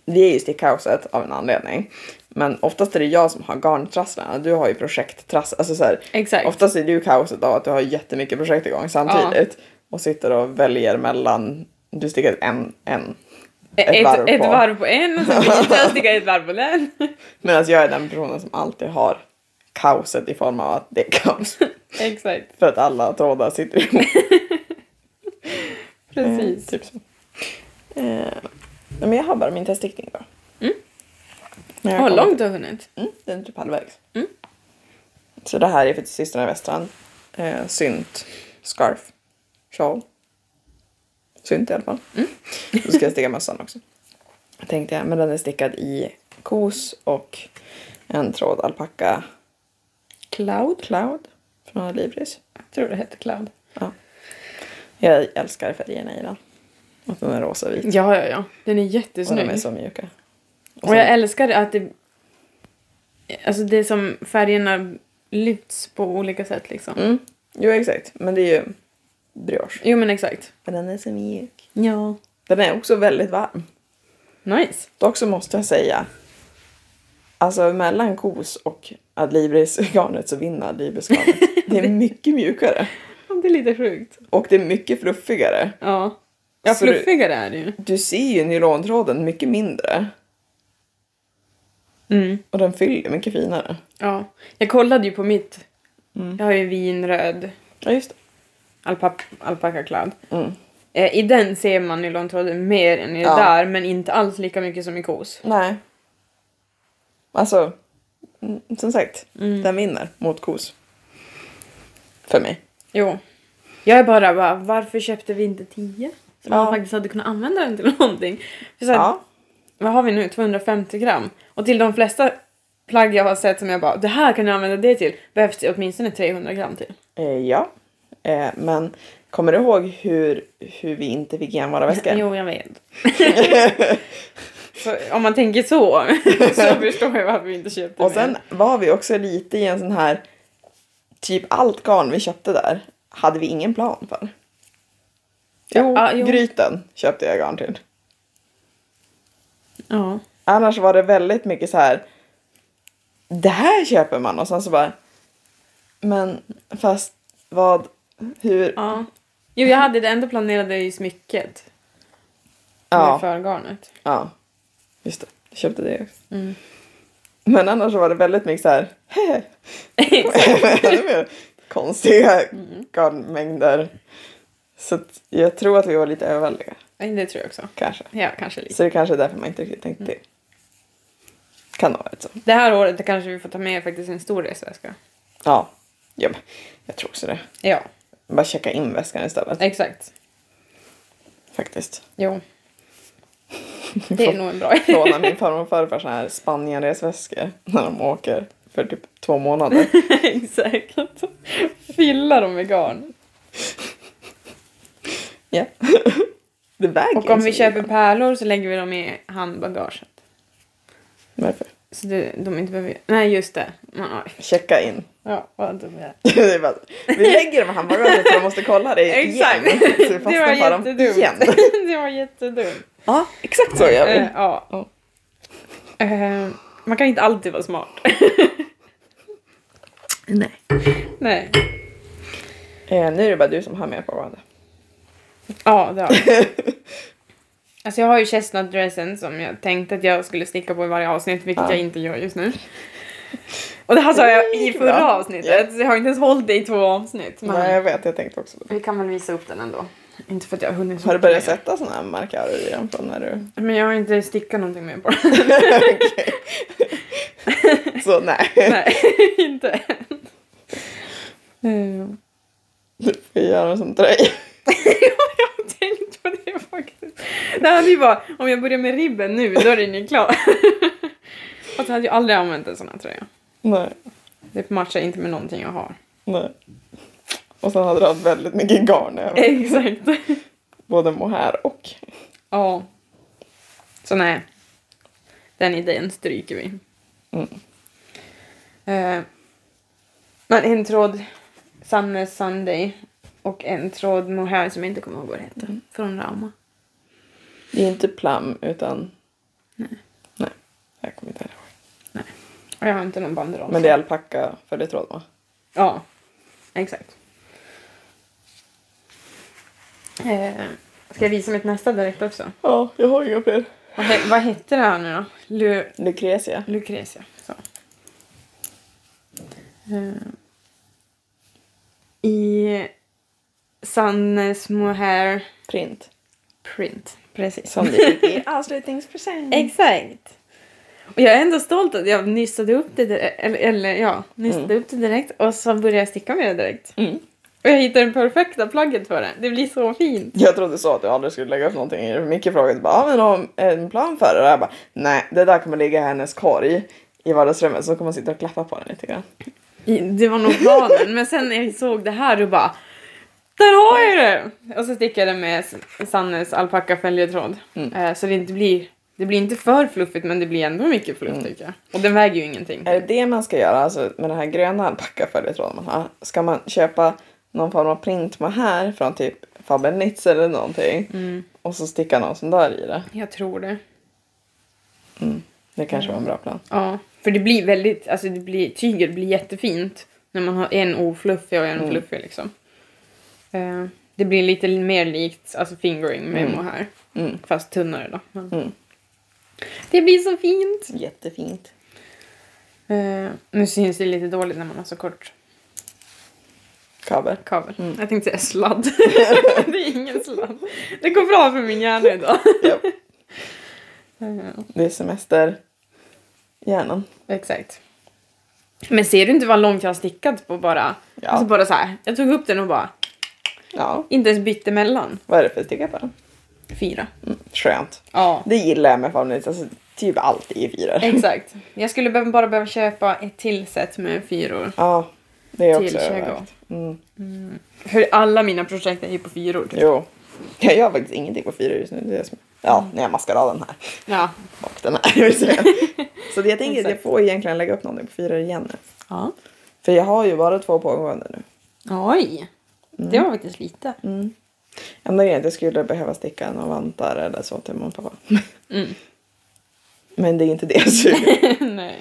[SPEAKER 1] vi är ju stickkaoset av en anledning. Men oftast är det jag som har garntrasslarna. Du har ju projekttrass. Alltså så här,
[SPEAKER 2] Exakt.
[SPEAKER 1] oftast är du kaoset av att du har jättemycket projekt igång samtidigt. Och sitter och väljer mellan, du stickar en, en.
[SPEAKER 2] Ett, ett, varv, på. ett
[SPEAKER 1] på.
[SPEAKER 2] varv på en och sen byter jag och sticker ett varv på den.
[SPEAKER 1] Medan jag är den personen som alltid har kaoset i form av att det är kaos.
[SPEAKER 2] Exakt.
[SPEAKER 1] För att alla trådar sitter ihop.
[SPEAKER 2] Precis.
[SPEAKER 1] Eh, typ så. Eh, men jag har bara min teststickning då. Men jag
[SPEAKER 2] Mm. Åh,
[SPEAKER 1] kommer-
[SPEAKER 2] långt du har hunnit.
[SPEAKER 1] Mm, den är typ halvvägs.
[SPEAKER 2] Mm.
[SPEAKER 1] Så det här är för systrarna Westran. Eh, synt scarf. Shawl. Synt i alla fall.
[SPEAKER 2] Mm.
[SPEAKER 1] Då ska jag sticka mössan också. Tänkte jag, men den är stickad i kos och en tråd alpacka
[SPEAKER 2] Cloud?
[SPEAKER 1] cloud från Libris.
[SPEAKER 2] Jag tror det hette Cloud.
[SPEAKER 1] Ja. Jag älskar färgerna i den. Att den är rosavit.
[SPEAKER 2] Ja, ja, ja. Den är
[SPEAKER 1] Och
[SPEAKER 2] jättesnygg.
[SPEAKER 1] de är så mjuka.
[SPEAKER 2] Och jag älskar att det... Alltså det är som färgerna lyfts på olika sätt liksom.
[SPEAKER 1] Mm. Jo, exakt. Men det är ju brioche.
[SPEAKER 2] Jo men exakt.
[SPEAKER 1] Men den är så mjuk.
[SPEAKER 2] Ja.
[SPEAKER 1] Den är också väldigt varm.
[SPEAKER 2] Nice.
[SPEAKER 1] Dock så måste jag säga, alltså mellan kos och Adlibris-garnet så vinner Adlibris-garnet. det är mycket mjukare.
[SPEAKER 2] Ja, Det är lite sjukt.
[SPEAKER 1] Och det är mycket fluffigare.
[SPEAKER 2] Ja. Ja,
[SPEAKER 1] Så du-
[SPEAKER 2] fluffigare är det ju.
[SPEAKER 1] Du ser ju nylontråden mycket mindre.
[SPEAKER 2] Mm.
[SPEAKER 1] Och den fyller mycket finare.
[SPEAKER 2] Ja. Jag kollade ju på mitt.
[SPEAKER 1] Mm.
[SPEAKER 2] Jag har ju vinröd
[SPEAKER 1] Ja, just
[SPEAKER 2] alpa- alpaka cloud.
[SPEAKER 1] det. Mm.
[SPEAKER 2] Eh, I den ser man nylontråden mer än i det
[SPEAKER 1] Ja.
[SPEAKER 2] där, men inte alls lika mycket som i kos.
[SPEAKER 1] Nej. Alltså, mm, som sagt, den vinner mot kos. För mig.
[SPEAKER 2] Jo. Jag är bara, bara varför köpte vi inte 10? Så man
[SPEAKER 1] Ja.
[SPEAKER 2] faktiskt hade kunnat använda den till någonting. För så här,
[SPEAKER 1] Ja.
[SPEAKER 2] Vad har vi nu? 250 gram. Och till de flesta plagg jag har sett som jag bara, det här kan jag använda det till, behövs det åtminstone 300 gram till.
[SPEAKER 1] Eh, ja. Eh, men kommer du ihåg hur, hur vi inte fick igen våra väskor?
[SPEAKER 2] Jo, jag vet. så, om man tänker så, så förstår jag varför vi inte köpte
[SPEAKER 1] Och sen
[SPEAKER 2] mer.
[SPEAKER 1] var vi också lite i en sån här, typ allt garn vi köpte där hade vi ingen plan för. Jo,
[SPEAKER 2] Ja, ah, jo.
[SPEAKER 1] gryten köpte jag garn till.
[SPEAKER 2] Ja.
[SPEAKER 1] Annars var det väldigt mycket så här, det här köper man och sen så bara, men fast vad, hur,
[SPEAKER 2] ja. Jo, jag hade det ändå planerade ju smycket.
[SPEAKER 1] Ja.
[SPEAKER 2] Med förgarnet.
[SPEAKER 1] ja, just det, jag köpte det också. Men annars så var det väldigt mycket så här, ännu mer konstiga
[SPEAKER 2] Mm.
[SPEAKER 1] garnmängder. Så att jag tror att vi var lite överväldigade,
[SPEAKER 2] Nej, det tror jag också.
[SPEAKER 1] kanske.
[SPEAKER 2] Ja, kanske lite.
[SPEAKER 1] Så det kanske är därför man inte riktigt tänkte
[SPEAKER 2] Mm.
[SPEAKER 1] till. Kan ha varit så.
[SPEAKER 2] Det här året kanske vi får ta med faktiskt en stor resväska.
[SPEAKER 1] Ja, ja men jag tror också det.
[SPEAKER 2] Ja,
[SPEAKER 1] Bara checka in väskan istället,
[SPEAKER 2] exakt.
[SPEAKER 1] faktiskt.
[SPEAKER 2] Jo. Det är nog en bra idé.
[SPEAKER 1] Låna min farmor och farfar såna här Spanienresväskor när de åker för typ två månader.
[SPEAKER 2] Exakt. Fylla dem med garn.
[SPEAKER 1] Ja. Det väger
[SPEAKER 2] Och om
[SPEAKER 1] inte
[SPEAKER 2] vi
[SPEAKER 1] så
[SPEAKER 2] köper
[SPEAKER 1] mycket.
[SPEAKER 2] pärlor så lägger vi dem i handbagaget.
[SPEAKER 1] Varför?
[SPEAKER 2] Så det, de inte behöver... Nej, just det. Man har...
[SPEAKER 1] Checka in.
[SPEAKER 2] Ja, vad dum jag är.
[SPEAKER 1] det är bara, vi lägger dem i handbagaget för de måste kolla det igen.
[SPEAKER 2] Exakt.
[SPEAKER 1] Så vi
[SPEAKER 2] Det
[SPEAKER 1] fastnar
[SPEAKER 2] var
[SPEAKER 1] på dem
[SPEAKER 2] jättedumt.
[SPEAKER 1] igen.
[SPEAKER 2] Det var jättedumt.
[SPEAKER 1] Ja, exakt så gör vi.
[SPEAKER 2] Eh, ja.
[SPEAKER 1] Ja.
[SPEAKER 2] Eh, man kan inte alltid vara smart.
[SPEAKER 1] Nej.
[SPEAKER 2] Nej.
[SPEAKER 1] Eh, nu är det bara du som har med på varandra.
[SPEAKER 2] Ja, det har jag. Alltså jag har ju chestnut-dressen som jag tänkte att jag skulle sticka på i varje avsnitt, vilket
[SPEAKER 1] Ja.
[SPEAKER 2] jag inte gör just nu. Och det här sa jag i
[SPEAKER 1] gick bra.
[SPEAKER 2] förra avsnittet, så jag har inte ens hållit det i två avsnitt. Men
[SPEAKER 1] Nej, jag vet. Jag tänkte också det.
[SPEAKER 2] vi kan väl visa upp den ändå. Inte för att jag har hunnit så
[SPEAKER 1] Har du
[SPEAKER 2] mycket
[SPEAKER 1] börjat
[SPEAKER 2] mer.
[SPEAKER 1] sätta såna här markörer i den från när du...
[SPEAKER 2] Men jag har inte stickat någonting mer på den.
[SPEAKER 1] Så nej.
[SPEAKER 2] Nej, inte än. Eh,
[SPEAKER 1] Du får göra dem som tröja.
[SPEAKER 2] ja, jag har tänkt på det faktiskt. Det hade ju bara, om jag börjar med ribben nu, då är den ju klar. Och så hade jag aldrig använt en sån här tröja.
[SPEAKER 1] Nej,
[SPEAKER 2] Det matchar inte med någonting jag har.
[SPEAKER 1] nej. Och sen hade du haft väldigt mycket garn över.
[SPEAKER 2] Exakt.
[SPEAKER 1] Både mohair och...
[SPEAKER 2] Ja. Så nej. Den idén stryker vi.
[SPEAKER 1] Mm.
[SPEAKER 2] Eh, men en tråd Summer Sunday och en tråd mohair som jag inte kommer ihåg vad det heter. Från Rauma.
[SPEAKER 1] Det är inte plam, utan... Nej. Nej, jag kommer inte ihåg.
[SPEAKER 2] Och jag har inte någon banderoll.
[SPEAKER 1] Men det är alpacka för det tråd, va?
[SPEAKER 2] Ja, exakt. Eh, ska jag visa mitt nästa direkt också?
[SPEAKER 1] Ja, jag har inga fler.
[SPEAKER 2] Vad, he- vad hette det här nu då? Lu
[SPEAKER 1] Lucrezia.
[SPEAKER 2] Lucrezia. Så. Eh, I Sannes Mohair
[SPEAKER 1] Print.
[SPEAKER 2] Print. Precis.
[SPEAKER 1] Som vi fick i avslutningspresent.
[SPEAKER 2] Exakt. Och jag är ändå stolt att jag nystade upp det direkt. Eller, eller ja, nystade upp det direkt och så började jag sticka med det direkt.
[SPEAKER 1] Mm.
[SPEAKER 2] Och jag hittade det perfekta plagget för det. Det blir så fint.
[SPEAKER 1] Jag trodde så att du aldrig skulle lägga upp någonting. Micke frågade bara, ah, men har du en plan för det? Och jag bara, nej, det där kommer ligga i hennes korg i vardagsrummet så kommer hon sitta och klappa på den lite grann.
[SPEAKER 2] I- Det var nog planen, men sen när jag såg det här och bara Där har jag det! Och så stickade jag det med S- Sannes alpackaföljetråd. Eh, Så det inte blir det blir inte för fluffigt men det blir ändå mycket fluff tycker jag. Och den väger ju ingenting.
[SPEAKER 1] Är det det man ska göra alltså, med den här gröna alpackaföljetråden man har? Ska man köpa någon form av print med här från typ Fabernitz eller någonting och så sticka någon sån där i det?
[SPEAKER 2] Jag tror det.
[SPEAKER 1] Det kanske var en bra plan.
[SPEAKER 2] Ja. För det blir väldigt, alltså det blir, tyget blir jättefint när man har en ofluffig och en fluffig liksom. Eh, Det blir lite mer likt alltså fingering med mohair.
[SPEAKER 1] Mm.
[SPEAKER 2] Fast tunnare då. Men-
[SPEAKER 1] Mm.
[SPEAKER 2] Det blir så fint!
[SPEAKER 1] Jättefint.
[SPEAKER 2] Eh, nu syns det lite dåligt när man har så kort
[SPEAKER 1] Kabel.
[SPEAKER 2] kabel. Jag tänkte säga sladd. det är ingen sladd. Det går bra för min hjärna idag.
[SPEAKER 1] Japp.
[SPEAKER 2] Eh,
[SPEAKER 1] Det är semester. Hjärnan.
[SPEAKER 2] exakt. Men ser du inte vad långt jag har stickat på bara?
[SPEAKER 1] Ja.
[SPEAKER 2] Alltså bara så här. Jag tog upp den och bara
[SPEAKER 1] Ja.
[SPEAKER 2] inte ens bytte mellan.
[SPEAKER 1] Vad är det för sticka på den?
[SPEAKER 2] Fyra.
[SPEAKER 1] Mm. Skönt.
[SPEAKER 2] Ja.
[SPEAKER 1] Det gillar jag med Fabernitz. Alltså, typ allt är fyror.
[SPEAKER 2] Exakt. Jag skulle be- bara behöva köpa ett till set med fyror.
[SPEAKER 1] Ja, det är
[SPEAKER 2] Till
[SPEAKER 1] också
[SPEAKER 2] Chicago.
[SPEAKER 1] övervägt. Mm.
[SPEAKER 2] För alla mina projekt är ju på fyror. Typ.
[SPEAKER 1] Jo. Jag gör faktiskt ingenting på fyra just nu. Det är det som... Ja,
[SPEAKER 2] Mm.
[SPEAKER 1] när jag maskarar den här.
[SPEAKER 2] Ja.
[SPEAKER 1] Och den här. vill säga. Så det jag tänker att jag
[SPEAKER 2] Exakt.
[SPEAKER 1] får egentligen lägga upp någonting på fyra igen nu.
[SPEAKER 2] ja.
[SPEAKER 1] För jag har ju bara två pågående nu. Mm.
[SPEAKER 2] Oj. Det var faktiskt lite.
[SPEAKER 1] Enda grejen är att jag skulle behöva sticka några vantar eller så till mamma och pappa.
[SPEAKER 2] Mm.
[SPEAKER 1] Men det är inte det jag suger.
[SPEAKER 2] Nej.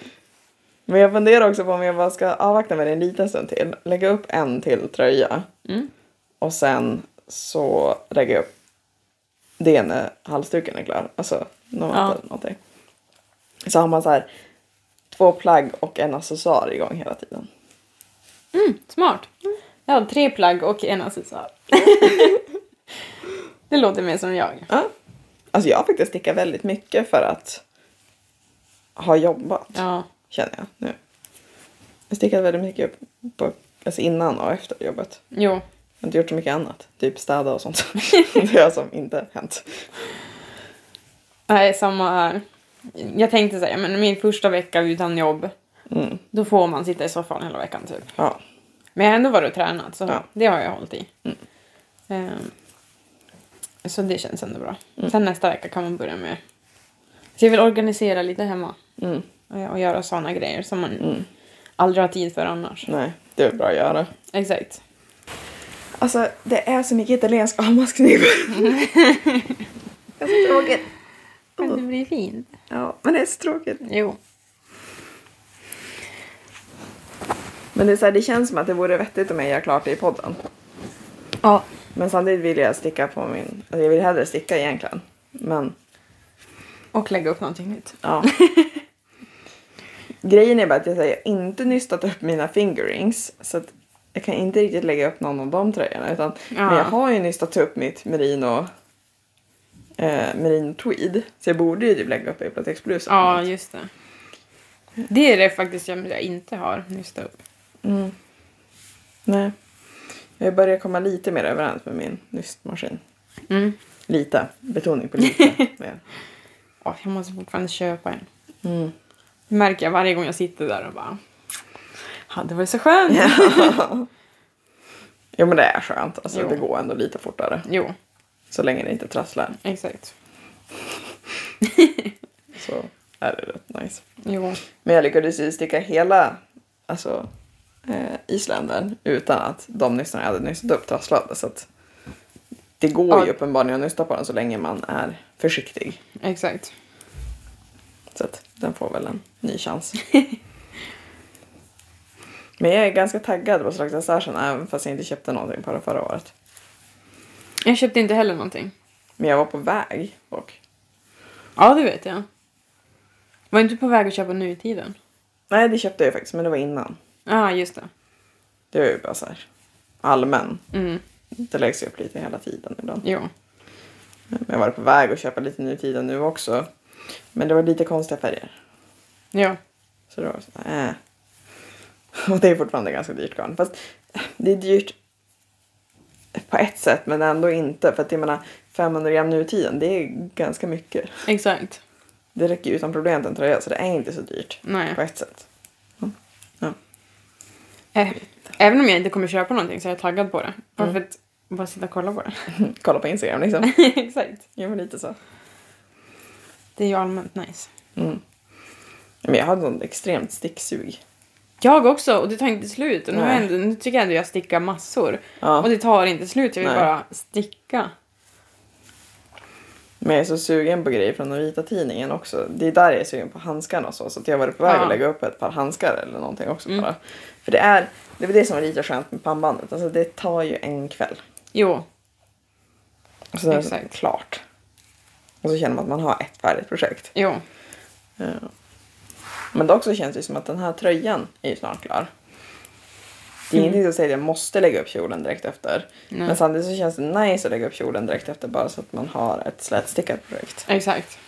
[SPEAKER 1] Men jag funderar också på om jag bara ska avvakta med det en liten stund till. Lägga upp en till tröja.
[SPEAKER 2] Mm.
[SPEAKER 1] Och sen så lägger jag upp det när halsduken är klar. Alltså någon
[SPEAKER 2] Ja.
[SPEAKER 1] ja. eller någonting. Så har man så här två plagg och en accessoar igång hela tiden.
[SPEAKER 2] Mm, smart. Jag har tre plagg och en accessoar. det låter mer som jag.
[SPEAKER 1] Ja. Alltså jag har faktiskt stickat väldigt mycket för att ha jobbat.
[SPEAKER 2] Ja.
[SPEAKER 1] Känner jag nu. Jag stickat väldigt mycket på, alltså innan och efter jobbet.
[SPEAKER 2] Jo.
[SPEAKER 1] Jag har inte gjort så mycket annat. Typ städa och sånt. det har som inte hänt.
[SPEAKER 2] Nej, samma här. Jag tänkte säga, men min första vecka utan jobb,
[SPEAKER 1] Mm.
[SPEAKER 2] då får man sitta i soffan hela veckan typ.
[SPEAKER 1] Ja.
[SPEAKER 2] Men jag har ändå varit och tränat, så
[SPEAKER 1] Ja.
[SPEAKER 2] det har jag hållit i. Ehm, så det känns ändå bra. Sen nästa vecka kan man börja med... Så jag vill organisera lite hemma
[SPEAKER 1] Mm.
[SPEAKER 2] och, och göra såna grejer som man aldrig har tid för annars.
[SPEAKER 1] Nej, det är bra att göra.
[SPEAKER 2] Exakt.
[SPEAKER 1] Alltså det är så mycket italiensk avmaskning. det är så tråkigt. Mm.
[SPEAKER 2] Men det blir fint.
[SPEAKER 1] Ja, men det är så tråkigt.
[SPEAKER 2] Jo.
[SPEAKER 1] Men det, är så här, det känns som att det vore vettigt om jag gör klart det i podden.
[SPEAKER 2] Ja.
[SPEAKER 1] Men samtidigt vill jag sticka på min... Alltså, jag vill hellre sticka egentligen. Men
[SPEAKER 2] Och lägga upp någonting nytt.
[SPEAKER 1] ja. Grejen är bara att jag, säger, jag har inte nystat upp mina fingerings. Så att jag kan inte riktigt lägga upp någon av de tröjorna. Utan, Men
[SPEAKER 2] Ja.
[SPEAKER 1] jag har ju nystat upp mitt merino... Eh, merino tweed. Så jag borde ju typ lägga upp det i platexblusen.
[SPEAKER 2] Ja, just det. Det är det faktiskt jag, jag inte har nysta upp.
[SPEAKER 1] Mm. Nej. Jag börjar komma lite mer överens med min nystmaskin.
[SPEAKER 2] Mm.
[SPEAKER 1] Lite. Betoning på lite. mer.
[SPEAKER 2] Åh, jag måste fortfarande köpa en.
[SPEAKER 1] Mm.
[SPEAKER 2] Det märker jag varje gång jag sitter där och bara... Hade varit så skönt.
[SPEAKER 1] Jo men det är skönt. Alltså,
[SPEAKER 2] Jo.
[SPEAKER 1] det går ändå lite fortare.
[SPEAKER 2] Jo,
[SPEAKER 1] Så länge det inte trasslar
[SPEAKER 2] exakt.
[SPEAKER 1] så är det rätt nice.
[SPEAKER 2] Jo.
[SPEAKER 1] Men jag lyckades ju sticka hela alltså, eh, Isländer utan att de nystarna jag hade nystat upp trasslade. Så att det går
[SPEAKER 2] Ja.
[SPEAKER 1] ju uppenbarligen att nysta på den så länge man är försiktig.
[SPEAKER 2] Exakt.
[SPEAKER 1] Så att den får väl en ny chans. Men jag är ganska taggad på Slags Assertion även fast jag inte köpte någonting på det förra året.
[SPEAKER 2] Jag köpte inte heller någonting.
[SPEAKER 1] Men jag var på väg och...
[SPEAKER 2] Ja, det vet jag. Var inte på väg att köpa nutiden?
[SPEAKER 1] Nej, det köpte jag faktiskt, men det var innan.
[SPEAKER 2] Ja, ah, just det.
[SPEAKER 1] Det var ju bara så här allmän.
[SPEAKER 2] Mm.
[SPEAKER 1] Det läggs ju upp lite hela tiden ibland.
[SPEAKER 2] Jo.
[SPEAKER 1] Men jag var på väg att köpa lite nutiden nu också. Men det var lite konstiga färger.
[SPEAKER 2] Ja.
[SPEAKER 1] Så det var så här, äh. Och det är fortfarande ganska dyrt garn. Fast det är dyrt på ett sätt men ändå inte. För att jag menar 500 gram nu i tiden, det är ganska mycket.
[SPEAKER 2] Exakt.
[SPEAKER 1] Det räcker ju utan problem till en tröja så det är inte så dyrt
[SPEAKER 2] Nej.
[SPEAKER 1] på ett sätt.
[SPEAKER 2] Ä- Eh, Även om jag inte kommer köpa någonting så är jag taggad på det. Bara
[SPEAKER 1] Mm.
[SPEAKER 2] för att bara sitta och kolla på det.
[SPEAKER 1] Kolla på Instagram liksom.
[SPEAKER 2] Exakt.
[SPEAKER 1] Jag var lite så.
[SPEAKER 2] Det är ju allmänt nice.
[SPEAKER 1] Men jag hade sån extremt sticksug.
[SPEAKER 2] Jag också och det tar inte slut. Och nu, har jag
[SPEAKER 1] Nej.
[SPEAKER 2] ändå, nu tycker jag ändå jag stickar massor.
[SPEAKER 1] Ja.
[SPEAKER 2] Och det tar inte slut. Jag vill
[SPEAKER 1] Nej.
[SPEAKER 2] bara sticka.
[SPEAKER 1] Men jag är så sugen på grejer från den vita tidningen också. Det är där jag är sugen på handskarna och så. Så att jag har varit på väg
[SPEAKER 2] Ja. Mm.
[SPEAKER 1] att lägga upp ett par handskar eller någonting också bara. För det är, det är väl det som är lite skönt med pannbandet. Alltså det tar ju en kväll.
[SPEAKER 2] Jo,
[SPEAKER 1] Och sen är det
[SPEAKER 2] Exakt.
[SPEAKER 1] klart. Och så känner man att man har ett färdigt projekt.
[SPEAKER 2] jo.
[SPEAKER 1] Ja. Men det också känns det som att den här tröjan är ju snart klar. Det är ingenting som säger att jag måste lägga upp kjolen direkt efter.
[SPEAKER 2] Mm. Nej.
[SPEAKER 1] Men samtidigt så känns det nice att lägga upp kjolen direkt efter bara så att man har ett slätstickat projekt.
[SPEAKER 2] Exakt.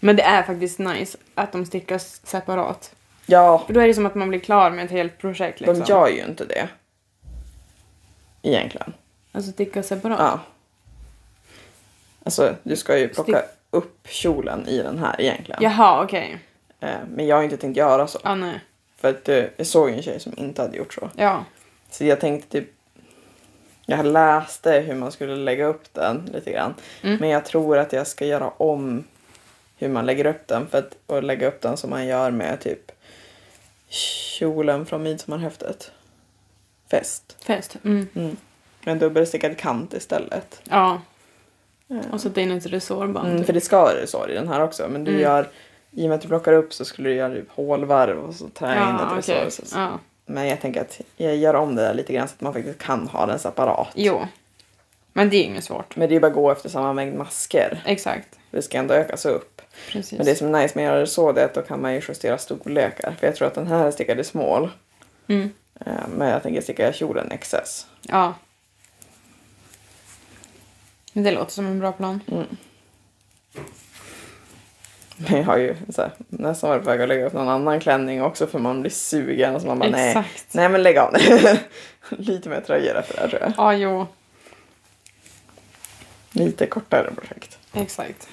[SPEAKER 2] Men det är faktiskt nice att de stickas separat.
[SPEAKER 1] Ja,
[SPEAKER 2] För då är det som att man blir klar med ett helt projekt. Liksom.
[SPEAKER 1] de gör ju inte det. Egentligen.
[SPEAKER 2] Alltså sticka separat.
[SPEAKER 1] Ja. Alltså du ska ju plocka
[SPEAKER 2] Stick-
[SPEAKER 1] upp kjolen i den här egentligen.
[SPEAKER 2] Jaha, okej.
[SPEAKER 1] Eh, Men jag har inte tänkt göra så.
[SPEAKER 2] Ja, nej.
[SPEAKER 1] För att eh, jag såg en tjej som inte hade gjort så.
[SPEAKER 2] Ja.
[SPEAKER 1] Så jag tänkte typ... Jag läste hur man skulle lägga upp den lite grann.
[SPEAKER 2] Mm.
[SPEAKER 1] Men jag tror att jag ska göra om hur man lägger upp den. För att och lägga upp den som man gör med typ kjolen från midsommarhäftet. Fäst.
[SPEAKER 2] Fest. Mm.
[SPEAKER 1] Med en dubbelstickad kant istället.
[SPEAKER 2] Ja. Och sätta in ett resårband.
[SPEAKER 1] Eh. Mm, för det ska vara resår i den här också. Men du
[SPEAKER 2] Mm.
[SPEAKER 1] gör... I och med att du plockar upp så skulle du göra typ hålvarv och så trä in ett
[SPEAKER 2] ja, okej.
[SPEAKER 1] resår. Så-
[SPEAKER 2] Ja.
[SPEAKER 1] Men jag tänker att jag gör om det där lite grann så att man faktiskt kan ha den separat.
[SPEAKER 2] Jo. Men det är inget svårt.
[SPEAKER 1] Men det är ju bara att gå efter samma mängd masker.
[SPEAKER 2] Exakt.
[SPEAKER 1] Det ska ändå ökas upp.
[SPEAKER 2] Precis.
[SPEAKER 1] Men det som är nice med att göra det så det är att då kan man ju justera storlekar. För jag tror att den här är stickad i smål.
[SPEAKER 2] Mm.
[SPEAKER 1] Eh, Men jag tänker sticka kjolen XS.
[SPEAKER 2] Ja. Men det låter som en bra plan.
[SPEAKER 1] Mm. Men jag har ju så här, nästan varit på väg att lägga upp någon annan klänning också för man blir sugen. Och så man bara, nej,
[SPEAKER 2] Exakt.
[SPEAKER 1] nej men lägg av det. Lite mer tröjor efter det här tror jag.
[SPEAKER 2] Ja, jo.
[SPEAKER 1] Lite kortare projekt.
[SPEAKER 2] Exakt.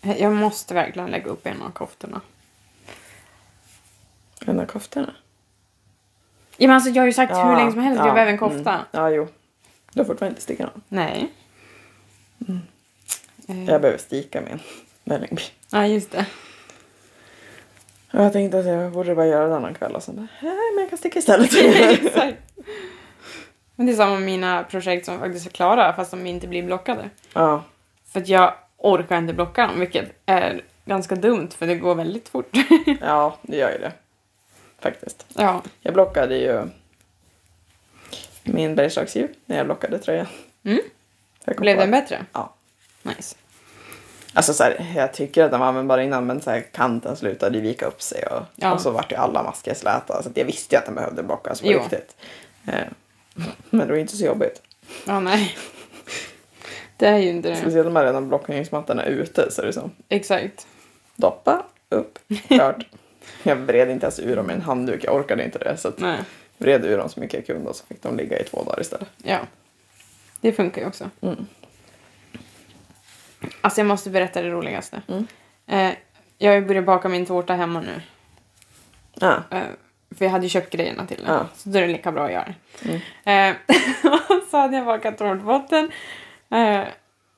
[SPEAKER 2] Jag måste verkligen lägga upp en av koftorna.
[SPEAKER 1] Den där koftorna.
[SPEAKER 2] Ja, men alltså, jag har ju sagt hur
[SPEAKER 1] Ja,
[SPEAKER 2] länge som helst att
[SPEAKER 1] ja,
[SPEAKER 2] jag behöver en kofta.
[SPEAKER 1] Mm. Ja, jo. Du har fortfarande inte stickat någon.
[SPEAKER 2] Nej. Eh,
[SPEAKER 1] Mm. Jag behöver stika min Vällingby.
[SPEAKER 2] Ja, just det.
[SPEAKER 1] Och jag tänkte att jag borde bara göra det någon kväll och sen bara, nej men jag kan sticka istället.
[SPEAKER 2] Exakt. Men det är samma med mina projekt som faktiskt är klara fast de inte blir blockade.
[SPEAKER 1] ja,
[SPEAKER 2] För att jag orkar inte blocka dem, vilket är ganska dumt för det går väldigt fort.
[SPEAKER 1] ja, det gör ju det. Faktiskt.
[SPEAKER 2] ja.
[SPEAKER 1] Jag blockade ju min bergslagsdjur när jag blockade tröjan.
[SPEAKER 2] Mm.
[SPEAKER 1] Jag kom
[SPEAKER 2] Blev
[SPEAKER 1] på
[SPEAKER 2] den
[SPEAKER 1] att-
[SPEAKER 2] bättre?
[SPEAKER 1] Ja.
[SPEAKER 2] Nice.
[SPEAKER 1] Alltså så här, jag tycker att den var användbar innan men så här, kanten slutade ju vika upp sig och,
[SPEAKER 2] Ja.
[SPEAKER 1] och så vart ju alla masker släta. Så att jag visste ju att den behövde blockas på
[SPEAKER 2] Jo.
[SPEAKER 1] riktigt. Eh, Men det var inte så jobbigt.
[SPEAKER 2] Ja, nej. Det är ju inte det.
[SPEAKER 1] Speciellt när man redan blockeringsmattan är ute så är det som
[SPEAKER 2] Exakt.
[SPEAKER 1] doppa, upp, klart. jag vred inte ens ur dem med en handduk, jag orkade inte det. Så att
[SPEAKER 2] Nej.
[SPEAKER 1] vred ur dem så mycket jag kunde och så fick de ligga i två dagar istället.
[SPEAKER 2] Ja. Det funkar ju också.
[SPEAKER 1] Mm.
[SPEAKER 2] Alltså jag måste berätta det roligaste.
[SPEAKER 1] Mm.
[SPEAKER 2] Eh, jag har ju börjat baka min tårta hemma nu.
[SPEAKER 1] Ja,
[SPEAKER 2] Eh, för jag hade ju köpt grejerna till den.
[SPEAKER 1] Ja.
[SPEAKER 2] Så då är det lika bra att göra det. Eh, och så hade jag bakat tårtbotten. Eh,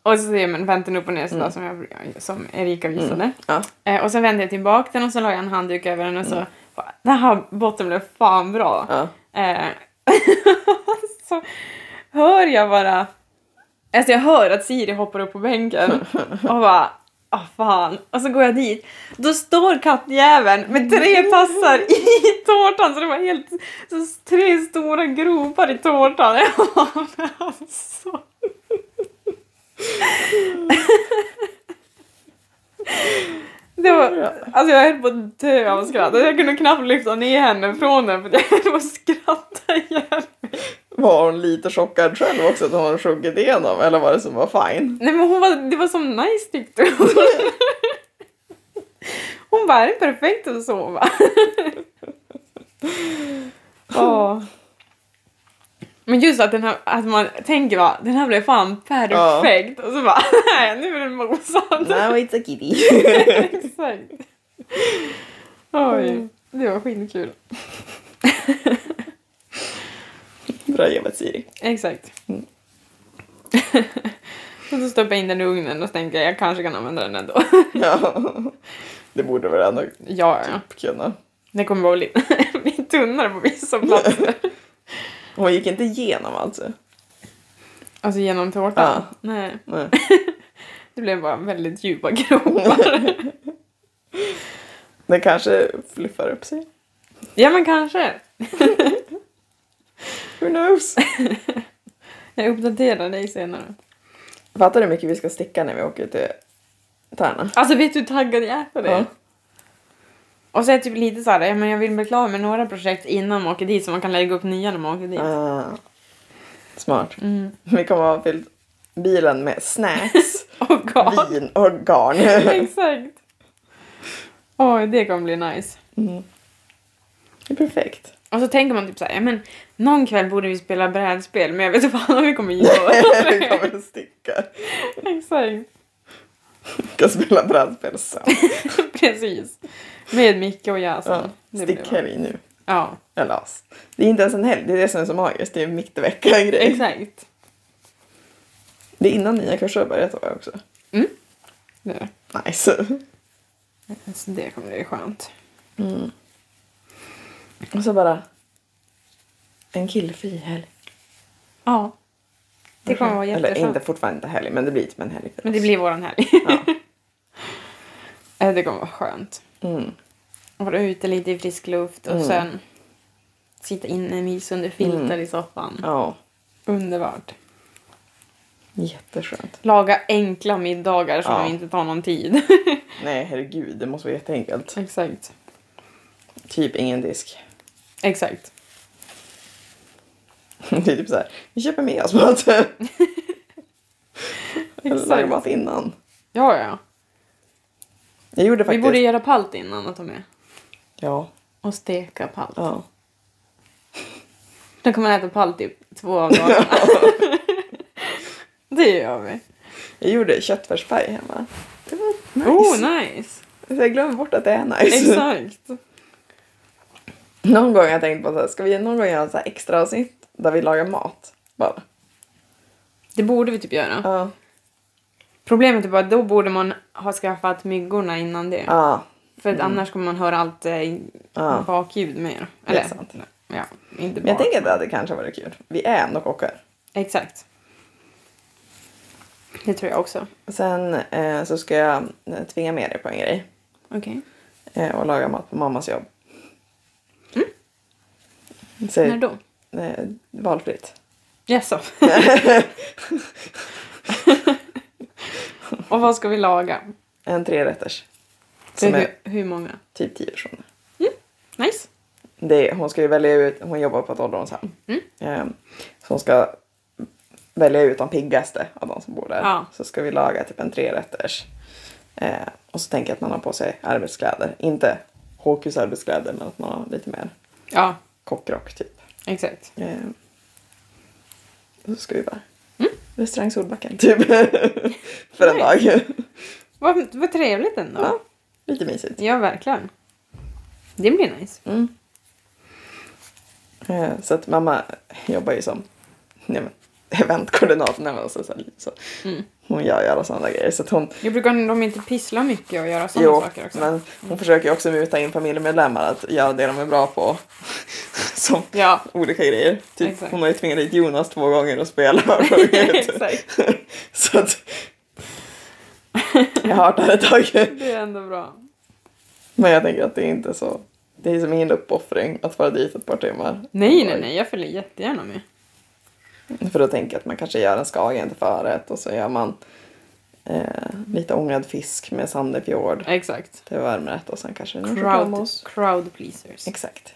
[SPEAKER 2] och så ser man vänten upp och ner sådär som, jag, som Erika visade.
[SPEAKER 1] ja.
[SPEAKER 2] Eh, och sen vände jag tillbaka den och så la jag en handduk över den och så bara, den här botten blev fan bra.
[SPEAKER 1] Ja.
[SPEAKER 2] Eh, så hör jag bara, alltså jag hör att Siri hoppar upp på bänken och bara Ah fan. Och så går jag dit. Då står kattjäveln med tre tassar i tårtan så det var helt så tre stora gropar i tårtan. alltså. Det var, alltså jag höll på att dö av skratt. Alltså Jag kunde knappt lyfta ner henne från den för jag höll på att skratta ihjäl mig.
[SPEAKER 1] Var hon lite chockad själv också att hon hade sjunkit igenom eller var det som var fine?
[SPEAKER 2] Nej men hon var, det var som nice tyckte hon. Hon bara, är det perfekt att sova? Åh. Men just att, den här, att man tänker va, den här blev fan perfekt. Och så bara, nej nu är den mosad.
[SPEAKER 1] Now it's a kitty.
[SPEAKER 2] Exakt. Oj, det var skitkul.
[SPEAKER 1] Bra jobbat Siri.
[SPEAKER 2] Exakt.
[SPEAKER 1] Mm.
[SPEAKER 2] och så stoppar jag in den i ugnen och så tänker jag, jag kanske kan använda den ändå.
[SPEAKER 1] Ja. Det borde väl ändå
[SPEAKER 2] ja, ja.
[SPEAKER 1] kunna.
[SPEAKER 2] Den kommer vara lite, lite tunnare på vissa platser.
[SPEAKER 1] Hon gick inte igenom alltså.
[SPEAKER 2] Alltså genom tårtan?
[SPEAKER 1] Ja.
[SPEAKER 2] Nej.
[SPEAKER 1] Nej.
[SPEAKER 2] Det blev bara väldigt djupa gropar.
[SPEAKER 1] Den kanske fluffar upp sig.
[SPEAKER 2] ja men kanske.
[SPEAKER 1] Who knows?
[SPEAKER 2] Jag uppdaterar dig senare.
[SPEAKER 1] Fattar du hur mycket vi ska sticka när vi åker till Tärna?
[SPEAKER 2] Alltså vet du hur taggad jag är på det?
[SPEAKER 1] Ja.
[SPEAKER 2] Och så är jag typ lite såhär, ja, men jag vill bli klar med några projekt innan man åker dit så man kan lägga upp nya när man åker dit.
[SPEAKER 1] Ah. Smart.
[SPEAKER 2] Mm.
[SPEAKER 1] Vi kommer ha fyllt bilen med snacks,
[SPEAKER 2] Åh god.
[SPEAKER 1] vin och garn.
[SPEAKER 2] Exakt. Oj, det kommer bli nice.
[SPEAKER 1] Mm. Det är perfekt.
[SPEAKER 2] Och så tänker man typ såhär, ja men någon kväll borde vi spela brädspel men jag vet inte fan om vi kommer göra
[SPEAKER 1] Vi
[SPEAKER 2] det.
[SPEAKER 1] kommer sticka.
[SPEAKER 2] Exakt.
[SPEAKER 1] Vi ska spela brädspel sen.
[SPEAKER 2] Precis. Med Micke och
[SPEAKER 1] Ja.
[SPEAKER 2] Jason. Det blir bra.
[SPEAKER 1] Stickhelg nu.
[SPEAKER 2] Ja,
[SPEAKER 1] Eller oss. Det är inte ens en helg, det är det som är så magiskt. Det är mitt i veckan grej.
[SPEAKER 2] exakt.
[SPEAKER 1] Det är innan nya kurser har börjat va, också.
[SPEAKER 2] Det, är det.
[SPEAKER 1] Nice.
[SPEAKER 2] alltså, det kommer bli skönt.
[SPEAKER 1] Och så bara... En killfri helg.
[SPEAKER 2] Ja. Det kommer vara
[SPEAKER 1] Eller
[SPEAKER 2] jätteskönt.
[SPEAKER 1] inte, fortfarande inte helg, men det blir typ en helg. för
[SPEAKER 2] Men det
[SPEAKER 1] oss.
[SPEAKER 2] blir våran helg.
[SPEAKER 1] Ja.
[SPEAKER 2] Eh, det kommer vara skönt.
[SPEAKER 1] Mm.
[SPEAKER 2] Vara ute lite i frisk luft och
[SPEAKER 1] Mm.
[SPEAKER 2] sen sitta inomhus under filtar i soffan.
[SPEAKER 1] Ja,
[SPEAKER 2] Underbart.
[SPEAKER 1] jätteskönt.
[SPEAKER 2] Laga enkla middagar som
[SPEAKER 1] Ja.
[SPEAKER 2] inte tar någon tid.
[SPEAKER 1] Nej, herregud, det måste vara jätteenkelt.
[SPEAKER 2] Exakt.
[SPEAKER 1] Typ ingen disk.
[SPEAKER 2] Exakt.
[SPEAKER 1] Det är typ så här, vi köper med oss mat. Eller lagar
[SPEAKER 2] Exakt.
[SPEAKER 1] mat innan.
[SPEAKER 2] Ja, ja.
[SPEAKER 1] Jag gjorde
[SPEAKER 2] Vi
[SPEAKER 1] faktiskt...
[SPEAKER 2] borde göra palt innan att ta med.
[SPEAKER 1] Ja,
[SPEAKER 2] Och steka palt.
[SPEAKER 1] ja.
[SPEAKER 2] Då kan man äta palt typ två av dagarna. det gör vi.
[SPEAKER 1] Jag gjorde köttfärspaj hemma. Det var nice.
[SPEAKER 2] Oh, nice.
[SPEAKER 1] Så jag glömmer bort att det är nice.
[SPEAKER 2] Exakt.
[SPEAKER 1] Någon gång har jag tänkt på så här, ska vi någon gång göra en så här extra avsnitt där vi lagar mat? Bara.
[SPEAKER 2] Det borde vi typ göra.
[SPEAKER 1] Ja.
[SPEAKER 2] Problemet är bara att då borde man ha skaffat myggorna innan det.
[SPEAKER 1] Ja. Mm.
[SPEAKER 2] För att annars kommer man höra allt eh,
[SPEAKER 1] Ja.
[SPEAKER 2] bakljud mer.
[SPEAKER 1] Det är sant.
[SPEAKER 2] Ja, inte
[SPEAKER 1] Men jag
[SPEAKER 2] bak.
[SPEAKER 1] tänker att det hade kanske varit kul. Vi är ändå kockar.
[SPEAKER 2] Exakt. Det tror jag också.
[SPEAKER 1] Sen eh, så ska jag eh, tvinga med dig på en grej
[SPEAKER 2] Okej.
[SPEAKER 1] eh, och laga mat på mammas jobb. Mm.
[SPEAKER 2] När då?
[SPEAKER 1] Eh, valfritt.
[SPEAKER 2] Jaså? Och vad ska vi laga?
[SPEAKER 1] En trerätters.
[SPEAKER 2] För
[SPEAKER 1] Som är
[SPEAKER 2] hur, hur många?
[SPEAKER 1] typ tio personer.
[SPEAKER 2] Nice.
[SPEAKER 1] Det, är- hon ska ju välja ut, hon jobbar på ett ålderdomshem.
[SPEAKER 2] Mm.
[SPEAKER 1] Eh, så hon ska välja ut de piggaste av de som bor där.
[SPEAKER 2] Ja.
[SPEAKER 1] Så ska vi laga typ en trerätters. Eh, och så tänker jag att man har på sig arbetskläder. Inte HQs arbetskläder men att man har lite mer
[SPEAKER 2] Ja,
[SPEAKER 1] kockrock typ.
[SPEAKER 2] exakt.
[SPEAKER 1] Eh, och så ska vi bara restaurang Solbacken typ. För en
[SPEAKER 2] Mm. Nice.
[SPEAKER 1] dag.
[SPEAKER 2] Vad, vad trevligt ändå.
[SPEAKER 1] ja, lite mysigt.
[SPEAKER 2] Ja, verkligen. Det blir nice.
[SPEAKER 1] Mm. Eh, Så att mamma jobbar ju som nej men, eventkoordinator. Nej, men alltså, så, här, lite så.
[SPEAKER 2] Mm.
[SPEAKER 1] Hon gör ju alla sådana grejer. Så att hon,
[SPEAKER 2] Jag brukar de inte pyssla mycket och göra sådana
[SPEAKER 1] jo,
[SPEAKER 2] saker också.
[SPEAKER 1] men hon försöker ju också muta in familjemedlemmar att göra det de är bra på. som
[SPEAKER 2] Ja,
[SPEAKER 1] olika grejer. Typ,
[SPEAKER 2] Exakt.
[SPEAKER 1] hon har ju tvingat dit Jonas två gånger och spela och sjungit.
[SPEAKER 2] Exakt.
[SPEAKER 1] så att jag har hört det här ett tag.
[SPEAKER 2] det är ändå bra.
[SPEAKER 1] Men jag tänker att det är inte så. Det är som ingen uppoffring att vara dit ett par timmar.
[SPEAKER 2] Nej, nej, nej. Jag följer jättegärna med.
[SPEAKER 1] För då tänker jag att man kanske gör en skagen till förrätt och så gör man eh, lite ångad fisk med Sandefjord
[SPEAKER 2] Exakt.
[SPEAKER 1] till varmrätt och sen kanske en
[SPEAKER 2] Crowd,
[SPEAKER 1] chokladmousse.
[SPEAKER 2] crowd pleasers.
[SPEAKER 1] Exakt.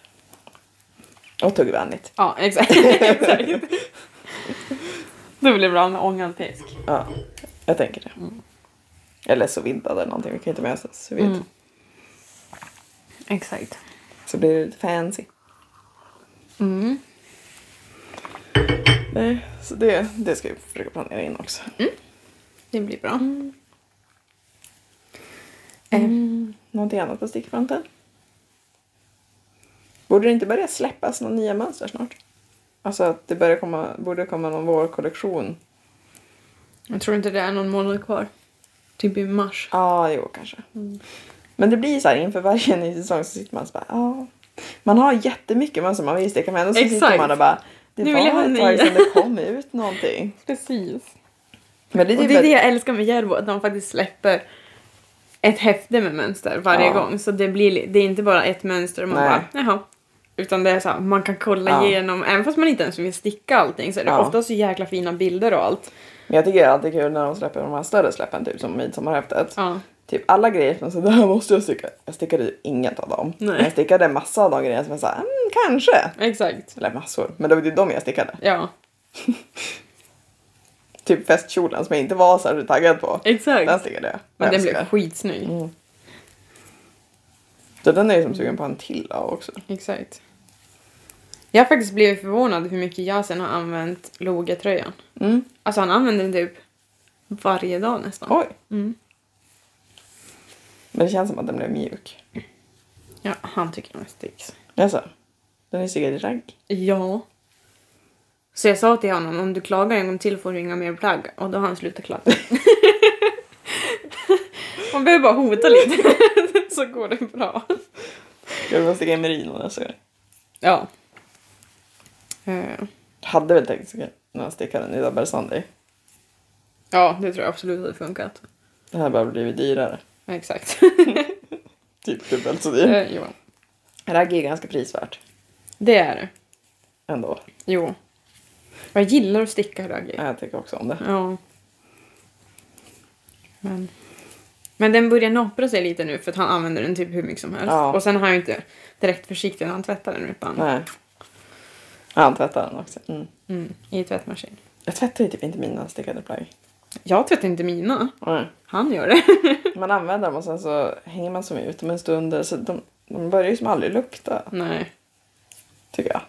[SPEAKER 1] Och tuggvänligt.
[SPEAKER 2] Ja, exakt. exakt. Det blir bra med ångad fisk.
[SPEAKER 1] Ja, jag tänker det. Eller så vintad eller någonting, vi kan ju inte med oss så vid.
[SPEAKER 2] Exakt.
[SPEAKER 1] Så blir det lite fancy.
[SPEAKER 2] Mm,
[SPEAKER 1] Nej, så det, det ska jag försöka planera in också.
[SPEAKER 2] Det blir bra. Mm.
[SPEAKER 1] Eh, Någonting annat på stickfronten? Borde det inte börja släppas några nya mönster snart? Alltså att det börjar komma, borde komma någon vårkollektion.
[SPEAKER 2] Jag tror inte det är någon månad kvar. Typ i mars.
[SPEAKER 1] Ja, ah, jo kanske.
[SPEAKER 2] Mm.
[SPEAKER 1] Men det blir så här inför varje ny säsong så sitter man så bara, ja. Man har jättemycket mönster man vill sticka med och så sitter
[SPEAKER 2] Exakt.
[SPEAKER 1] man och bara, det
[SPEAKER 2] Nu
[SPEAKER 1] var
[SPEAKER 2] vill jag ha
[SPEAKER 1] ett tag
[SPEAKER 2] nya.
[SPEAKER 1] sedan det kom ut någonting.
[SPEAKER 2] Precis.
[SPEAKER 1] Men det är
[SPEAKER 2] Och
[SPEAKER 1] typ
[SPEAKER 2] det är
[SPEAKER 1] ett-
[SPEAKER 2] det jag älskar med Järbo, att de faktiskt släpper ett häfte med mönster varje
[SPEAKER 1] Ja.
[SPEAKER 2] gång. Så det, blir, li- det är inte bara ett mönster och man
[SPEAKER 1] Nej.
[SPEAKER 2] bara jaha. Utan det är så här, man kan kolla
[SPEAKER 1] Ja.
[SPEAKER 2] igenom, även fast man inte ens vill sticka allting så är det
[SPEAKER 1] Ja.
[SPEAKER 2] ofta så jäkla fina bilder och allt.
[SPEAKER 1] Men jag tycker det är alltid kul när de släpper de här större släppen, typ som midsommarhäftet.
[SPEAKER 2] Ja.
[SPEAKER 1] Typ alla grejer som så det här måste jag sticka. Jag stickade ju inget av dem.
[SPEAKER 2] Nej.
[SPEAKER 1] Men jag stickade en massa av de grejerna som jag sa, mm, kanske.
[SPEAKER 2] Exakt.
[SPEAKER 1] Eller massor. Men det var ju de jag stickade.
[SPEAKER 2] Ja,
[SPEAKER 1] Typ festkjolen som jag inte var särskilt taggad på.
[SPEAKER 2] exakt.
[SPEAKER 1] Den stickade jag.
[SPEAKER 2] Men den
[SPEAKER 1] jag
[SPEAKER 2] blev
[SPEAKER 1] älskar.
[SPEAKER 2] skitsnygg.
[SPEAKER 1] Så den är ju som sugen på en till av också.
[SPEAKER 2] Exakt. Jag har faktiskt blivit förvånad hur mycket Yasin har använt Loga-tröjan.
[SPEAKER 1] Mm.
[SPEAKER 2] Alltså han använder den typ varje dag nästan.
[SPEAKER 1] Oj.
[SPEAKER 2] Mm.
[SPEAKER 1] Men det känns som att den blev mjuk.
[SPEAKER 2] Ja, han tycker den är sticks.
[SPEAKER 1] Jaså? Den är stickad i ragg?
[SPEAKER 2] Ja. Så jag sa till honom om du klagar en gång till får du inga mer plagg och då har han slutat klaga. Man behöver bara hota lite så går det bra.
[SPEAKER 1] Jag vill bara sticka i merino nästa gång.
[SPEAKER 2] Ja. Eh,
[SPEAKER 1] Hade väl tänkt sticka när jag stickade den i Dabber Sunday.
[SPEAKER 2] Ja, det tror jag absolut hade funkat.
[SPEAKER 1] Det här har bara blivit dyrare.
[SPEAKER 2] Exakt.
[SPEAKER 1] Typ dubbelt så dyrt.
[SPEAKER 2] Eh, jo.
[SPEAKER 1] Ragg är ganska prisvärt
[SPEAKER 2] Det är det.
[SPEAKER 1] ändå.
[SPEAKER 2] Jo. Jag gillar att sticka raggi.
[SPEAKER 1] Ja, Jag tycker också om det.
[SPEAKER 2] Ja. Men. Men den börjar nappra sig lite nu för att han använder den typ hur mycket som helst.
[SPEAKER 1] Ja.
[SPEAKER 2] Och sen har han ju inte direkt försiktig när han tvättar den utan
[SPEAKER 1] Nej. Ja, han tvättar den också. Mm.
[SPEAKER 2] mm, i tvättmaskin.
[SPEAKER 1] Jag tvättar ju typ inte mina stickade plagg.
[SPEAKER 2] Jag tvättar inte mina.
[SPEAKER 1] Nej.
[SPEAKER 2] Han gör det.
[SPEAKER 1] Man använder dem och sen så hänger man som ut dem en stund. Så de, de börjar ju som aldrig lukta,
[SPEAKER 2] Nej,
[SPEAKER 1] tycker jag.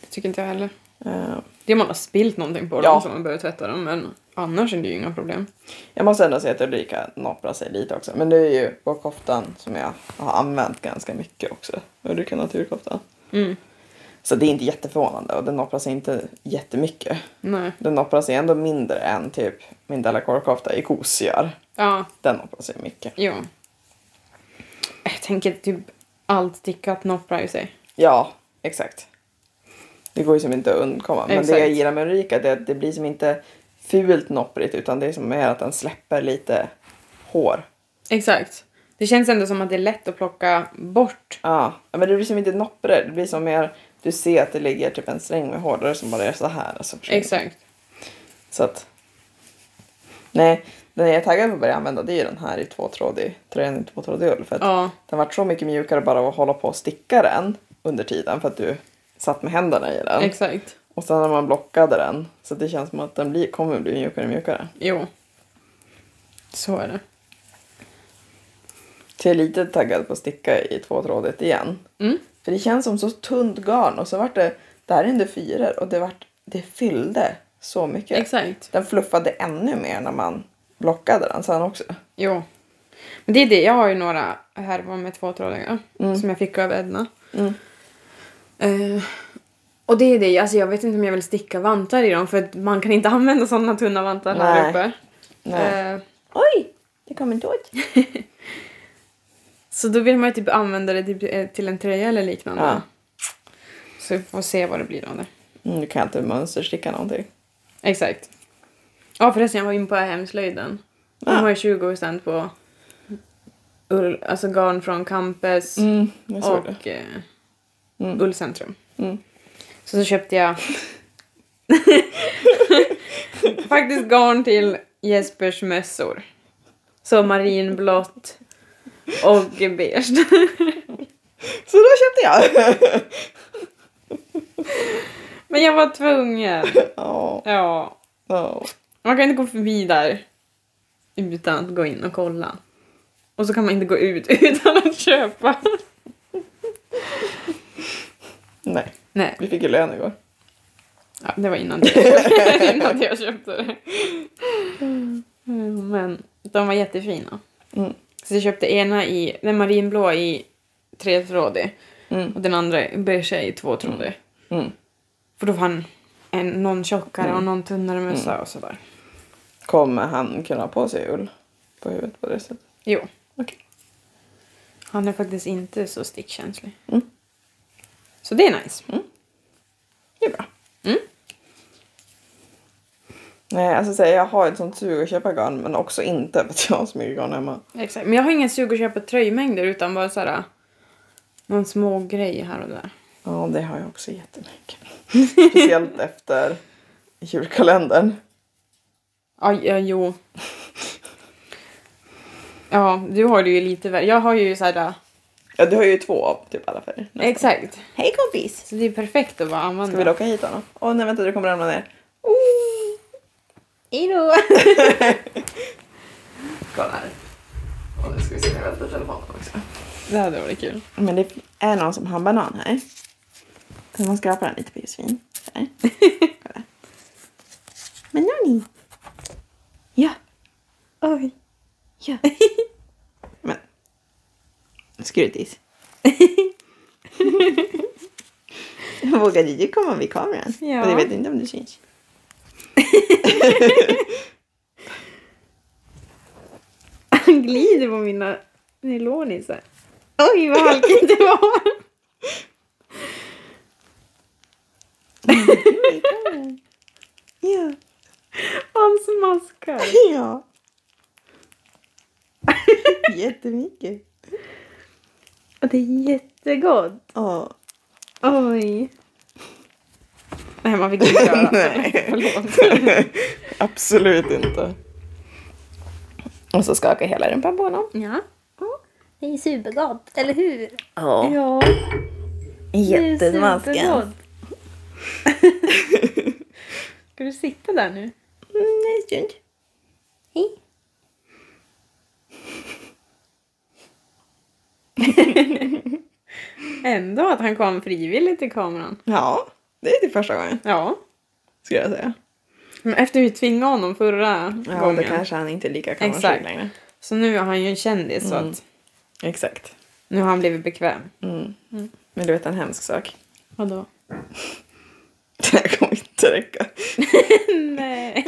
[SPEAKER 2] det tycker inte jag heller.
[SPEAKER 1] Eh,
[SPEAKER 2] Det är om man har spilt någonting på
[SPEAKER 1] Ja.
[SPEAKER 2] dem som man behöver tvätta dem men annars är det ju inga problem.
[SPEAKER 1] Jag måste ändå säga att Ulrika naprar sig lite också. Men det är ju vår koftan som jag har använt ganska mycket också. Ulrika naturkoftan.
[SPEAKER 2] Mm.
[SPEAKER 1] Så det är inte jätteförvånande och den naprar sig inte jättemycket.
[SPEAKER 2] Nej.
[SPEAKER 1] Den naprar sig ändå mindre än typ min delacour-kofta i kos gör.
[SPEAKER 2] Ja,
[SPEAKER 1] Den naprar sig mycket.
[SPEAKER 2] jo. Jag tänker typ allt stickat nopprar ju sig.
[SPEAKER 1] Ja, exakt. Det går ju som inte att undkomma. Men det
[SPEAKER 2] Exakt.
[SPEAKER 1] jag gillar med Ulrika det är att det blir som inte fult nopprigt utan det är som mer att den släpper lite hår.
[SPEAKER 2] Exakt. Det känns ändå som att det är lätt att plocka bort.
[SPEAKER 1] Ja, men det blir som inte noppre. Det blir som mer, du ser att det ligger typ en sträng med hårdare som bara är så här. Och så försvinner.
[SPEAKER 2] Exakt.
[SPEAKER 1] Så att... Nej, den jag är taggad på att börja använda det är ju den här i tvåtrådig, tröjan i tvåtrådig ull. För att
[SPEAKER 2] Ja.
[SPEAKER 1] den vart så mycket mjukare bara av att hålla på och sticka den under tiden för att du satt med händerna i den.
[SPEAKER 2] Exakt.
[SPEAKER 1] Och sen när man blockade den så det känns som att den blir, kommer bli mjukare och mjukare.
[SPEAKER 2] Jo. Så är det.
[SPEAKER 1] Så jag är lite taggad på att sticka i tvåtrådigt igen.
[SPEAKER 2] Mm.
[SPEAKER 1] För det känns som så tunt garn och så vart det, det här är ändå fyror och det, vart, det fyllde så mycket.
[SPEAKER 2] Exakt.
[SPEAKER 1] Den fluffade ännu mer när man blockade den sen också.
[SPEAKER 2] Jo. Men det är det. Jag har ju några härvor med tvåtrådiga som jag fick av Edna.
[SPEAKER 1] Mm.
[SPEAKER 2] Eh, och det är det. Alltså jag vet inte om jag vill sticka vantar i dem för att man kan inte använda sådana tunna vantar här
[SPEAKER 1] Nej.
[SPEAKER 2] uppe.
[SPEAKER 1] Nej.
[SPEAKER 2] Eh,
[SPEAKER 1] Oj! Det kom en tåt.
[SPEAKER 2] så då vill man ju typ använda det typ, eh, till en tröja eller liknande.
[SPEAKER 1] Ja.
[SPEAKER 2] Så vi får se vad det blir av det.
[SPEAKER 1] Mm, nu kan jag inte mönstersticka någonting.
[SPEAKER 2] Exakt. Ja förresten, jag var inne på hemslöjden. De
[SPEAKER 1] Ah.
[SPEAKER 2] har ju 20 på ull, alltså garn från Campus
[SPEAKER 1] Mm, jag såg det.
[SPEAKER 2] och eh,
[SPEAKER 1] Mm.
[SPEAKER 2] Ullcentrum.
[SPEAKER 1] Mm.
[SPEAKER 2] Så så köpte jag faktiskt garn till Jespers mössor. Så marinblått och beige.
[SPEAKER 1] Så då köpte jag!
[SPEAKER 2] Men jag var tvungen.
[SPEAKER 1] Ja.
[SPEAKER 2] Ja.
[SPEAKER 1] ja.
[SPEAKER 2] Man kan inte gå förbi där utan att gå in och kolla. Och så kan man inte gå ut utan att köpa.
[SPEAKER 1] Nej.
[SPEAKER 2] Nej,
[SPEAKER 1] Vi fick ju lön igår.
[SPEAKER 2] ja, det var innan jag, innan jag köpte det. Mm, Men de var jättefina.
[SPEAKER 1] Mm.
[SPEAKER 2] Så jag köpte ena i, den marinblå i tretrådig
[SPEAKER 1] Mm.
[SPEAKER 2] och den andra i beige i tvåtrådig.
[SPEAKER 1] Mm.
[SPEAKER 2] För då var han en, någon tjockare och någon tunnare mössa
[SPEAKER 1] Mm.
[SPEAKER 2] och sådär.
[SPEAKER 1] Kommer han kunna ha på sig ull på huvudet på det sättet?
[SPEAKER 2] Jo.
[SPEAKER 1] Okej.
[SPEAKER 2] Han är faktiskt inte så stickkänslig.
[SPEAKER 1] Mm.
[SPEAKER 2] Så det är nice.
[SPEAKER 1] Det är bra.
[SPEAKER 2] Mm.
[SPEAKER 1] Nej, alltså så här, jag har ett sånt sug att köpa garn men också inte för att jag har så mycket garn hemma.
[SPEAKER 2] Exakt. Men jag har ingen sug att köpa tröjmängder utan bara såhär någon små grej här och där.
[SPEAKER 1] Ja, det har jag också jättemycket. Speciellt efter julkalendern.
[SPEAKER 2] Ja, ja jo. Ja, du har det ju lite värre. Jag har ju såhär...
[SPEAKER 1] Ja, du har ju två av typ alla färger. nästan.
[SPEAKER 2] Exakt.
[SPEAKER 1] Hej kompis!
[SPEAKER 2] Så det är perfekt att bara använda.
[SPEAKER 1] Ska vi locka hit honom? Åh nej vänta, du kommer ramla ner.
[SPEAKER 2] Hejdå!
[SPEAKER 1] Kolla här. Och nu ska vi se, jag välter telefonen också.
[SPEAKER 2] Det hade varit kul.
[SPEAKER 1] Men det är någon som har en banan här. Så man skrapar den lite på Josefin. Så här. Kolla. Men nani? Ja. Oj. Ja. Men. Skrutis. Vågade du komma vid kameran?
[SPEAKER 2] Ja.
[SPEAKER 1] Och jag vet inte om du syns.
[SPEAKER 2] Han glider på mina nylonisar. Oj, vad halkigt det var!
[SPEAKER 1] Ja.
[SPEAKER 2] Han smaskar.
[SPEAKER 1] Ja. Jättemycket.
[SPEAKER 2] Och det är jättegott.
[SPEAKER 1] Ja.
[SPEAKER 2] Oj. Nej, man fick inte göra.
[SPEAKER 1] Nej.
[SPEAKER 2] Förlåt.
[SPEAKER 1] Absolut inte. Och så skakar hela rumpan på honom.
[SPEAKER 2] Ja.
[SPEAKER 5] Det är supergott, eller hur?
[SPEAKER 1] Ja.
[SPEAKER 5] Ja,
[SPEAKER 1] Jättesmasken.
[SPEAKER 2] Ska du sitta där nu?
[SPEAKER 1] Nej, stund.
[SPEAKER 5] Hej.
[SPEAKER 2] Ändå att han kom frivilligt till kameran.
[SPEAKER 1] Ja, det är typ första gången
[SPEAKER 2] Ja.
[SPEAKER 1] skulle jag säga.
[SPEAKER 2] Men efter vi tvingade honom förra
[SPEAKER 1] Ja,
[SPEAKER 2] gången.
[SPEAKER 1] då kanske han inte är lika kameraskygg
[SPEAKER 2] Exakt.
[SPEAKER 1] längre.
[SPEAKER 2] Så nu är han ju en kändis så
[SPEAKER 1] Mm.
[SPEAKER 2] att
[SPEAKER 1] Exakt.
[SPEAKER 2] nu har han blivit bekväm.
[SPEAKER 1] Mm. Men du vet en hemsk sak.
[SPEAKER 2] Vadå?
[SPEAKER 1] Det här kommer inte räcka.
[SPEAKER 2] Nej.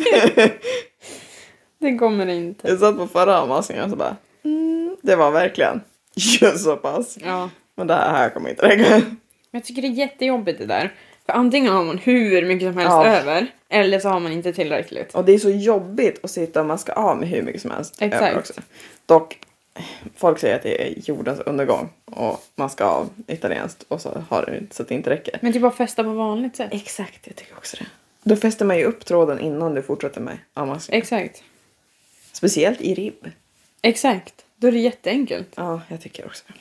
[SPEAKER 2] det kommer det inte.
[SPEAKER 1] Jag satt på förra avmaskningen och så bara mm, det var verkligen just så pass.
[SPEAKER 2] Ja.
[SPEAKER 1] Men det här kommer inte räcka.
[SPEAKER 2] Men jag tycker det är jättejobbigt det där. För antingen har man hur mycket som helst
[SPEAKER 1] Ja.
[SPEAKER 2] över eller så har man inte tillräckligt.
[SPEAKER 1] Och det är så jobbigt att sitta och maska av med hur mycket som helst.
[SPEAKER 2] Exakt.
[SPEAKER 1] över Dock, folk säger att det är jordens undergång och maska av italienskt och så har det inte- så att det inte räcker.
[SPEAKER 2] Men typ bara festa på vanligt sätt.
[SPEAKER 1] Exakt, jag tycker också det. Då fäster man ju upp tråden innan du fortsätter med avmaskning.
[SPEAKER 2] Exakt.
[SPEAKER 1] Speciellt i ribb.
[SPEAKER 2] Exakt. Då är det jätteenkelt.
[SPEAKER 1] Ja, jag tycker också det.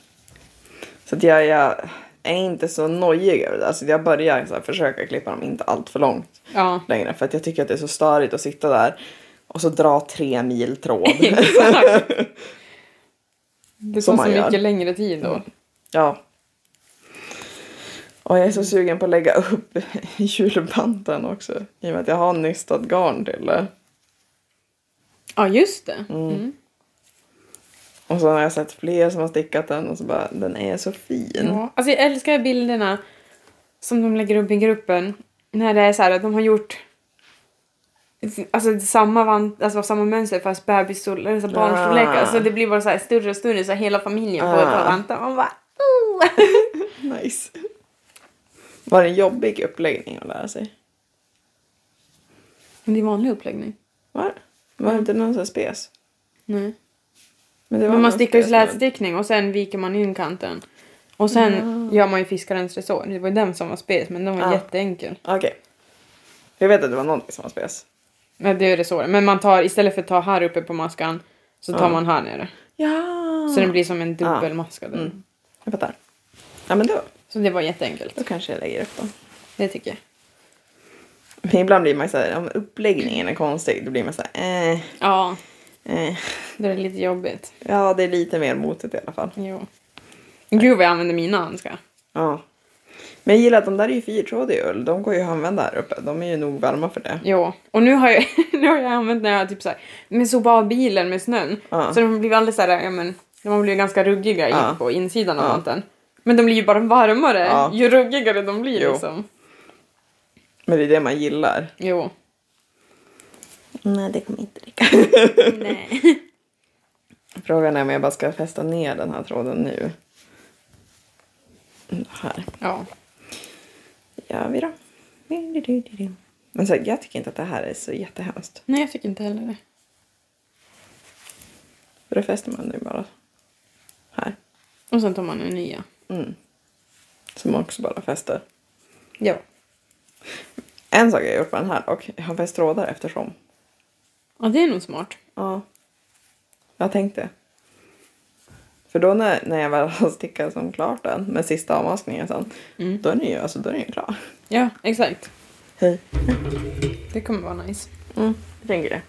[SPEAKER 1] Så att jag, jag är inte så nojig över det där. Så jag börjar så här, försöka klippa dem inte allt för långt
[SPEAKER 2] Ja.
[SPEAKER 1] längre. För att jag tycker att det är så störigt att sitta där och så dra tre mil tråd.
[SPEAKER 2] Exakt. Det
[SPEAKER 1] Som
[SPEAKER 2] tar så
[SPEAKER 1] man gör. Mm.
[SPEAKER 2] mycket längre tid då.
[SPEAKER 1] Ja. Och jag är så sugen på att lägga upp julbanten också. I och med att jag har nystat garn till det.
[SPEAKER 2] Ja, just det. Mm.
[SPEAKER 1] Och så har jag sett fler som har stickat den och så bara, den är så fin.
[SPEAKER 2] Ja. Alltså jag älskar bilderna som de lägger upp i gruppen. När det är så här att de har gjort alltså, samma, van, alltså, samma mönster fast bebisstorlek, alltså barnstorlek.
[SPEAKER 1] Ah.
[SPEAKER 2] Alltså, det blir bara så här större och större så här, hela familjen får ett
[SPEAKER 1] Ah.
[SPEAKER 2] par vantar. Man bara
[SPEAKER 1] Nice. Var det en jobbig uppläggning att lära sig?
[SPEAKER 2] Men det är vanlig uppläggning.
[SPEAKER 1] Var det? Var det inte någon sån här spes?
[SPEAKER 2] Nej.
[SPEAKER 1] Men, det
[SPEAKER 2] Men man
[SPEAKER 1] någon
[SPEAKER 2] stickar ju
[SPEAKER 1] spes med-
[SPEAKER 2] slätstickning och sen viker man in kanten. Och sen gör man ju fiskarens resår. Det var ju den som var spes men den var
[SPEAKER 1] Ah.
[SPEAKER 2] jätteenkel.
[SPEAKER 1] Okej. Jag vet att det var någonting som var spes.
[SPEAKER 2] Nej, det är resåren. Men man tar, istället för att ta här uppe på maskan så tar
[SPEAKER 1] Ja.
[SPEAKER 2] man här nere.
[SPEAKER 1] Ja.
[SPEAKER 2] Så den blir som en dubbelmaskad.
[SPEAKER 1] Ah. Mm. Jag fattar. Ja men då,
[SPEAKER 2] Så det var jätteenkelt.
[SPEAKER 1] då kanske jag lägger upp den.
[SPEAKER 2] Det tycker jag.
[SPEAKER 1] Men ibland blir man såhär, om uppläggningen är konstig, då blir man såhär, eh,
[SPEAKER 2] Ja,
[SPEAKER 1] eh.
[SPEAKER 2] det är lite jobbigt.
[SPEAKER 1] Ja, det är lite mer motigt i alla fall.
[SPEAKER 2] Jo. Gud vad jag använder mina handskar.
[SPEAKER 1] Ja. Men jag gillar att de där är ju fyrtrådig ull. De går ju att använda här uppe. De är ju nog varma för det.
[SPEAKER 2] Jo, och nu har jag, nu har jag använt den här typ så här, men så bara bilen med snön.
[SPEAKER 1] Ja.
[SPEAKER 2] Så de blir alldeles så här, ja men, de blir ju ganska ruggiga i-
[SPEAKER 1] Ja.
[SPEAKER 2] på insidan av
[SPEAKER 1] Ja.
[SPEAKER 2] vanten. Men de blir ju bara varmare
[SPEAKER 1] Ja.
[SPEAKER 2] ju ruggigare de blir
[SPEAKER 1] Jo.
[SPEAKER 2] liksom.
[SPEAKER 1] Men det är det man gillar.
[SPEAKER 2] Jo.
[SPEAKER 1] Nej, det kommer inte räcka.
[SPEAKER 5] Nej.
[SPEAKER 1] Frågan är om jag bara ska fästa ner den här tråden nu. Här
[SPEAKER 2] Ja.
[SPEAKER 1] gör vi då. Men så, här, jag tycker inte att det här är så jättehemskt.
[SPEAKER 2] Nej, jag tycker inte heller det.
[SPEAKER 1] För då fäster man nu bara här.
[SPEAKER 2] Och sen tar man en nya.
[SPEAKER 1] Mm. Som också bara fäster.
[SPEAKER 2] Ja.
[SPEAKER 1] En sak jag har gjort med den här dock. Jag har fäst trådar eftersom.
[SPEAKER 2] Ja, det är nog smart.
[SPEAKER 1] Ja. Jag tänkte. För då när, när jag väl har stickat som klart den med sista avmaskningen sen. Då är den ju, alltså, då är den ju klar.
[SPEAKER 2] Ja, exakt.
[SPEAKER 1] Hej.
[SPEAKER 2] Det kommer vara nice.
[SPEAKER 1] Mm, jag tänker det.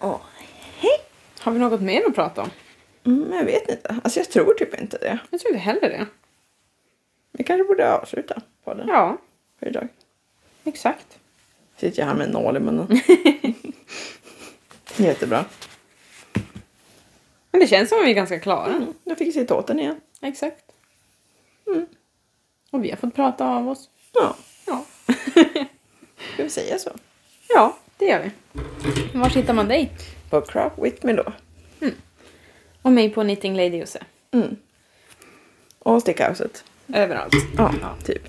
[SPEAKER 1] Åh,
[SPEAKER 2] Har vi något mer att prata om?
[SPEAKER 1] mm, jag vet inte. Alltså jag tror typ inte det.
[SPEAKER 2] Jag tror inte heller det.
[SPEAKER 1] Vi kanske borde avsluta podden
[SPEAKER 2] Ja,
[SPEAKER 1] för idag.
[SPEAKER 2] exakt.
[SPEAKER 1] Sitter jag här med en nål i munnen. Jättebra.
[SPEAKER 2] Men det känns som att vi är ganska klara.
[SPEAKER 1] Mm, jag fick sitta åt den igen.
[SPEAKER 2] Exakt. Och vi har fått prata av oss.
[SPEAKER 1] Mm. Ja,
[SPEAKER 2] Ja.
[SPEAKER 1] ska vi säga så?
[SPEAKER 2] Ja, det gör vi. Var hittar man dig?
[SPEAKER 1] På Crop With Me då.
[SPEAKER 2] Och mig på Knitting Lady Jose.
[SPEAKER 1] Mm. Och Stickhuset.
[SPEAKER 2] Överallt.
[SPEAKER 1] Ja, typ.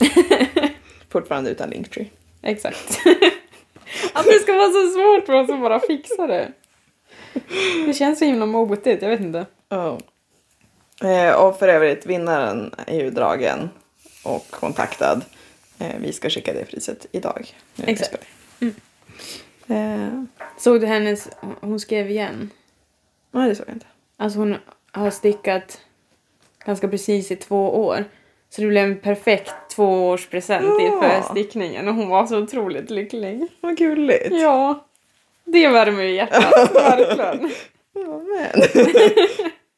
[SPEAKER 1] Fortfarande utan Linktree.
[SPEAKER 2] Exakt. att det ska vara så svårt för oss att bara fixa det. Det känns så himla motigt, jag vet inte.
[SPEAKER 1] Ja. Oh. Eh, och för övrigt, vinnaren är ju dragen och kontaktad. Eh, vi ska skicka det priset idag. Nu är det
[SPEAKER 2] Exakt.
[SPEAKER 1] spel. Eh,
[SPEAKER 2] Såg du hennes... Hon skrev igen.
[SPEAKER 1] nej, det såg jag inte.
[SPEAKER 2] Alltså hon har stickat ganska precis i två år. Så det blev en perfekt tvåårspresent
[SPEAKER 1] Ja.
[SPEAKER 2] inför stickningen och hon var så otroligt lycklig.
[SPEAKER 1] Vad gulligt.
[SPEAKER 2] Ja, det värmer ju hjärtat, verkligen.
[SPEAKER 1] Ja, men.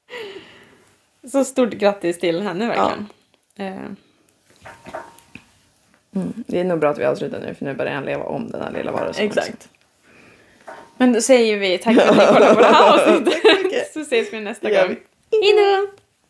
[SPEAKER 2] Så stort grattis till henne verkligen. Eh,
[SPEAKER 1] Det är nog bra att vi avslutar nu för nu börjar han leva om den här lilla varelsen. också.
[SPEAKER 2] Exakt. Men då säger vi tack för att ni kollade på det här avsnittet.
[SPEAKER 1] mycket.
[SPEAKER 2] Så ses vi nästa
[SPEAKER 1] Det gör
[SPEAKER 2] gång. Hejdå!